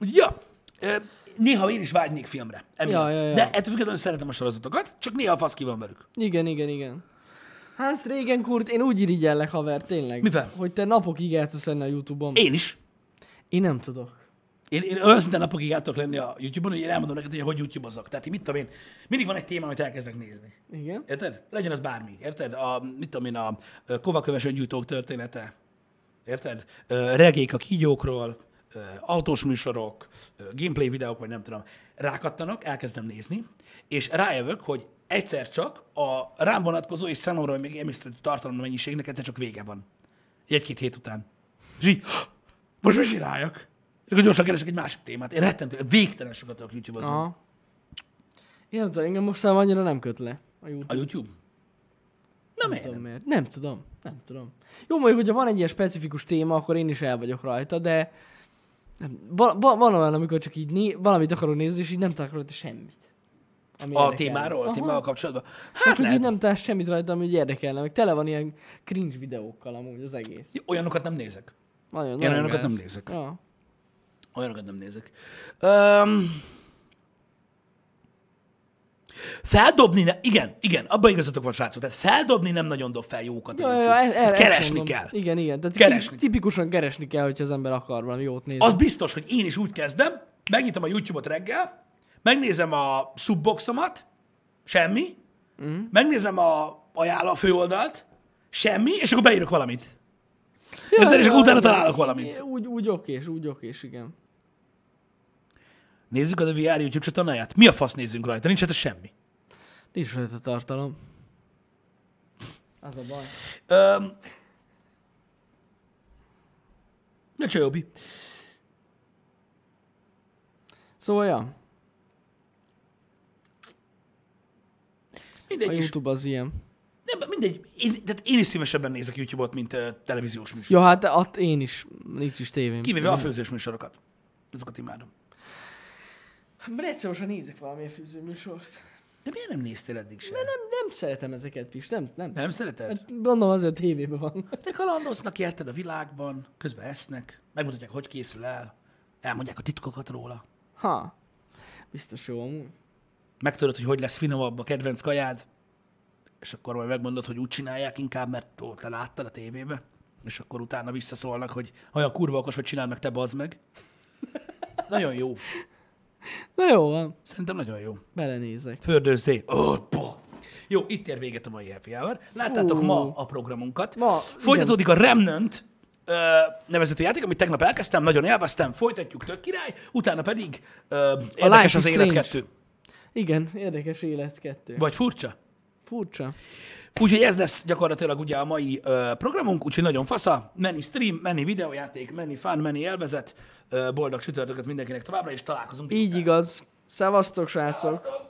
[SPEAKER 2] úgy- ja, ö, néha én is vágynék filmre. Emiatt.
[SPEAKER 1] Ja, ja, ja.
[SPEAKER 2] De ettől függetlenül szeretem a sorozatokat, csak néha a fasz ki van velük.
[SPEAKER 1] Igen, igen, igen. Hans Regenkurt, én úgy irigyellek, haver, tényleg.
[SPEAKER 2] Mivel?
[SPEAKER 1] Hogy te napokig el tudsz lenni a Youtube-on.
[SPEAKER 2] Én is.
[SPEAKER 1] Én nem tudok.
[SPEAKER 2] Én, én őszinte napokig el tudok lenni a YouTube-on, hogy én elmondom neked, hogy hogy YouTube-ozok. Tehát én mit tudom én, mindig van egy téma, amit elkezdek nézni.
[SPEAKER 1] Igen?
[SPEAKER 2] Érted? Legyen az bármi. Érted? A, mit tudom én, a ö, kovaköves öngyújtók története. Érted? Ö, Regék a kígyókról, ö, autós műsorok, ö, gameplay videók, vagy nem tudom. Rákattanak, elkezdem nézni, és rájövök, hogy egyszer csak a rám vonatkozó és számomra még emésztő tartalom mennyiségnek egyszer csak vége van. Egy-két hét után. És így, most mit csináljak? És akkor gyorsan keresek egy másik témát. Én rettentő, végtelen sokat tudok YouTube-ozni.
[SPEAKER 1] Aha. Én nem tudom, engem mostanában annyira nem köt le a YouTube.
[SPEAKER 2] A YouTube? Na
[SPEAKER 1] nem
[SPEAKER 2] miért?
[SPEAKER 1] tudom
[SPEAKER 2] nem?
[SPEAKER 1] miért. Nem tudom. Nem tudom. Jó, mondjuk, hogyha van egy ilyen specifikus téma, akkor én is el vagyok rajta, de nem. Va- va- van olyan, amikor csak így né- valamit akarok nézni, és így nem találok rajta semmit. ami
[SPEAKER 2] A
[SPEAKER 1] érdekelne.
[SPEAKER 2] témáról, a
[SPEAKER 1] Aha.
[SPEAKER 2] témával kapcsolatban? Hát
[SPEAKER 1] Hát, hogy
[SPEAKER 2] lehet.
[SPEAKER 1] így
[SPEAKER 2] Nem...
[SPEAKER 1] nem találsz semmit rajta, ami így érdekelne, meg tele van ilyen cringe videókkal amúgy az egész.
[SPEAKER 2] Olyanokat nem nézek.
[SPEAKER 1] Nagyon,
[SPEAKER 2] Én
[SPEAKER 1] nagyon
[SPEAKER 2] olyanokat nem
[SPEAKER 1] gáz.
[SPEAKER 2] nézek.
[SPEAKER 1] Ja.
[SPEAKER 2] Olyanokat nem nézek. Um, feldobni, ne, igen, igen, abban igazatok van, srácok. Tehát feldobni nem nagyon dob fel jókat. a
[SPEAKER 1] Ja, ja,
[SPEAKER 2] YouTube.
[SPEAKER 1] ja, el, el,
[SPEAKER 2] Tehát Hát keresni
[SPEAKER 1] mondom.
[SPEAKER 2] kell.
[SPEAKER 1] Igen, igen. Tehát
[SPEAKER 2] Keresni.
[SPEAKER 1] keresni. tipikusan keresni kell, hogyha az ember akar valami jót nézni.
[SPEAKER 2] Az biztos, hogy én is úgy kezdem, megnyitom a YouTube-ot reggel, megnézem a subboxomat, semmi,
[SPEAKER 1] Mhm.
[SPEAKER 2] mm. megnézem a ajánló a főoldalt, semmi, és akkor beírok valamit. Érted? és akkor utána találok valamit.
[SPEAKER 1] Úgy, úgy okés, úgy okés, igen.
[SPEAKER 2] Nézzük a The VR YouTube csatornáját. Mi a fasz nézzünk rajta? Nincs hát semmi.
[SPEAKER 1] Nincs rajta tartalom. Az a baj.
[SPEAKER 2] Öm... Ne Csajobi.
[SPEAKER 1] Szóval, ja, a
[SPEAKER 2] Mindegy, is,
[SPEAKER 1] YouTube az ilyen.
[SPEAKER 2] nem, mindegy. Én, tehát én is szívesebben nézek YouTube-ot, mint ö, televíziós műsor.
[SPEAKER 1] Ja, hát ott én is, nincs is tévém.
[SPEAKER 2] Kivéve a főzős műsorokat. Azokat imádom.
[SPEAKER 1] Mert egyszer most nézek valamilyen fűzőműsort.
[SPEAKER 2] De miért nem néztél eddig sem?
[SPEAKER 1] Nem, nem szeretem ezeket, Pis, nem, nem.
[SPEAKER 2] Nem szereted?
[SPEAKER 1] Hát Gondolom azért a tévében van.
[SPEAKER 2] Te kalandoznak érted a világban, közben esznek, megmutatják, hogy készül el, elmondják a titkokat róla.
[SPEAKER 1] Ha. Biztos jó amúgy.
[SPEAKER 2] Megtudod, hogy hogy lesz finomabb a kedvenc kajád, és akkor majd megmondod, hogy úgy csinálják inkább, mert ó, te láttad a tévébe, és akkor utána visszaszólnak, hogy olyan kurva okos vagy, csinál meg, te bazd meg. Nagyon jó.
[SPEAKER 1] Na jó van,
[SPEAKER 2] Szerintem nagyon jó.
[SPEAKER 1] belenézek.
[SPEAKER 2] Fördőzzé. Oh, bazd. jó, itt ér véget a mai happy hour. Láttátok
[SPEAKER 1] Fú.
[SPEAKER 2] ma a programunkat.
[SPEAKER 1] Ma,
[SPEAKER 2] Folytatódik a Remnant ö, nevezetű játék, amit tegnap elkezdtem, nagyon élveztem, folytatjuk tök király, utána pedig ö, érdekes
[SPEAKER 1] Life
[SPEAKER 2] az
[SPEAKER 1] is
[SPEAKER 2] élet
[SPEAKER 1] Strange.
[SPEAKER 2] kettő.
[SPEAKER 1] Igen, érdekes élet kettő.
[SPEAKER 2] Vagy furcsa?
[SPEAKER 1] Furcsa.
[SPEAKER 2] Úgyhogy ez lesz gyakorlatilag ugye a mai ö, programunk, úgyhogy nagyon fasza, menni stream, menni videójáték, menni fun, menni élvezet, ö, boldog csütörtöket mindenkinek továbbra, és találkozunk.
[SPEAKER 1] Így igaz. Szevasztok, srácok.
[SPEAKER 2] Sziasztok!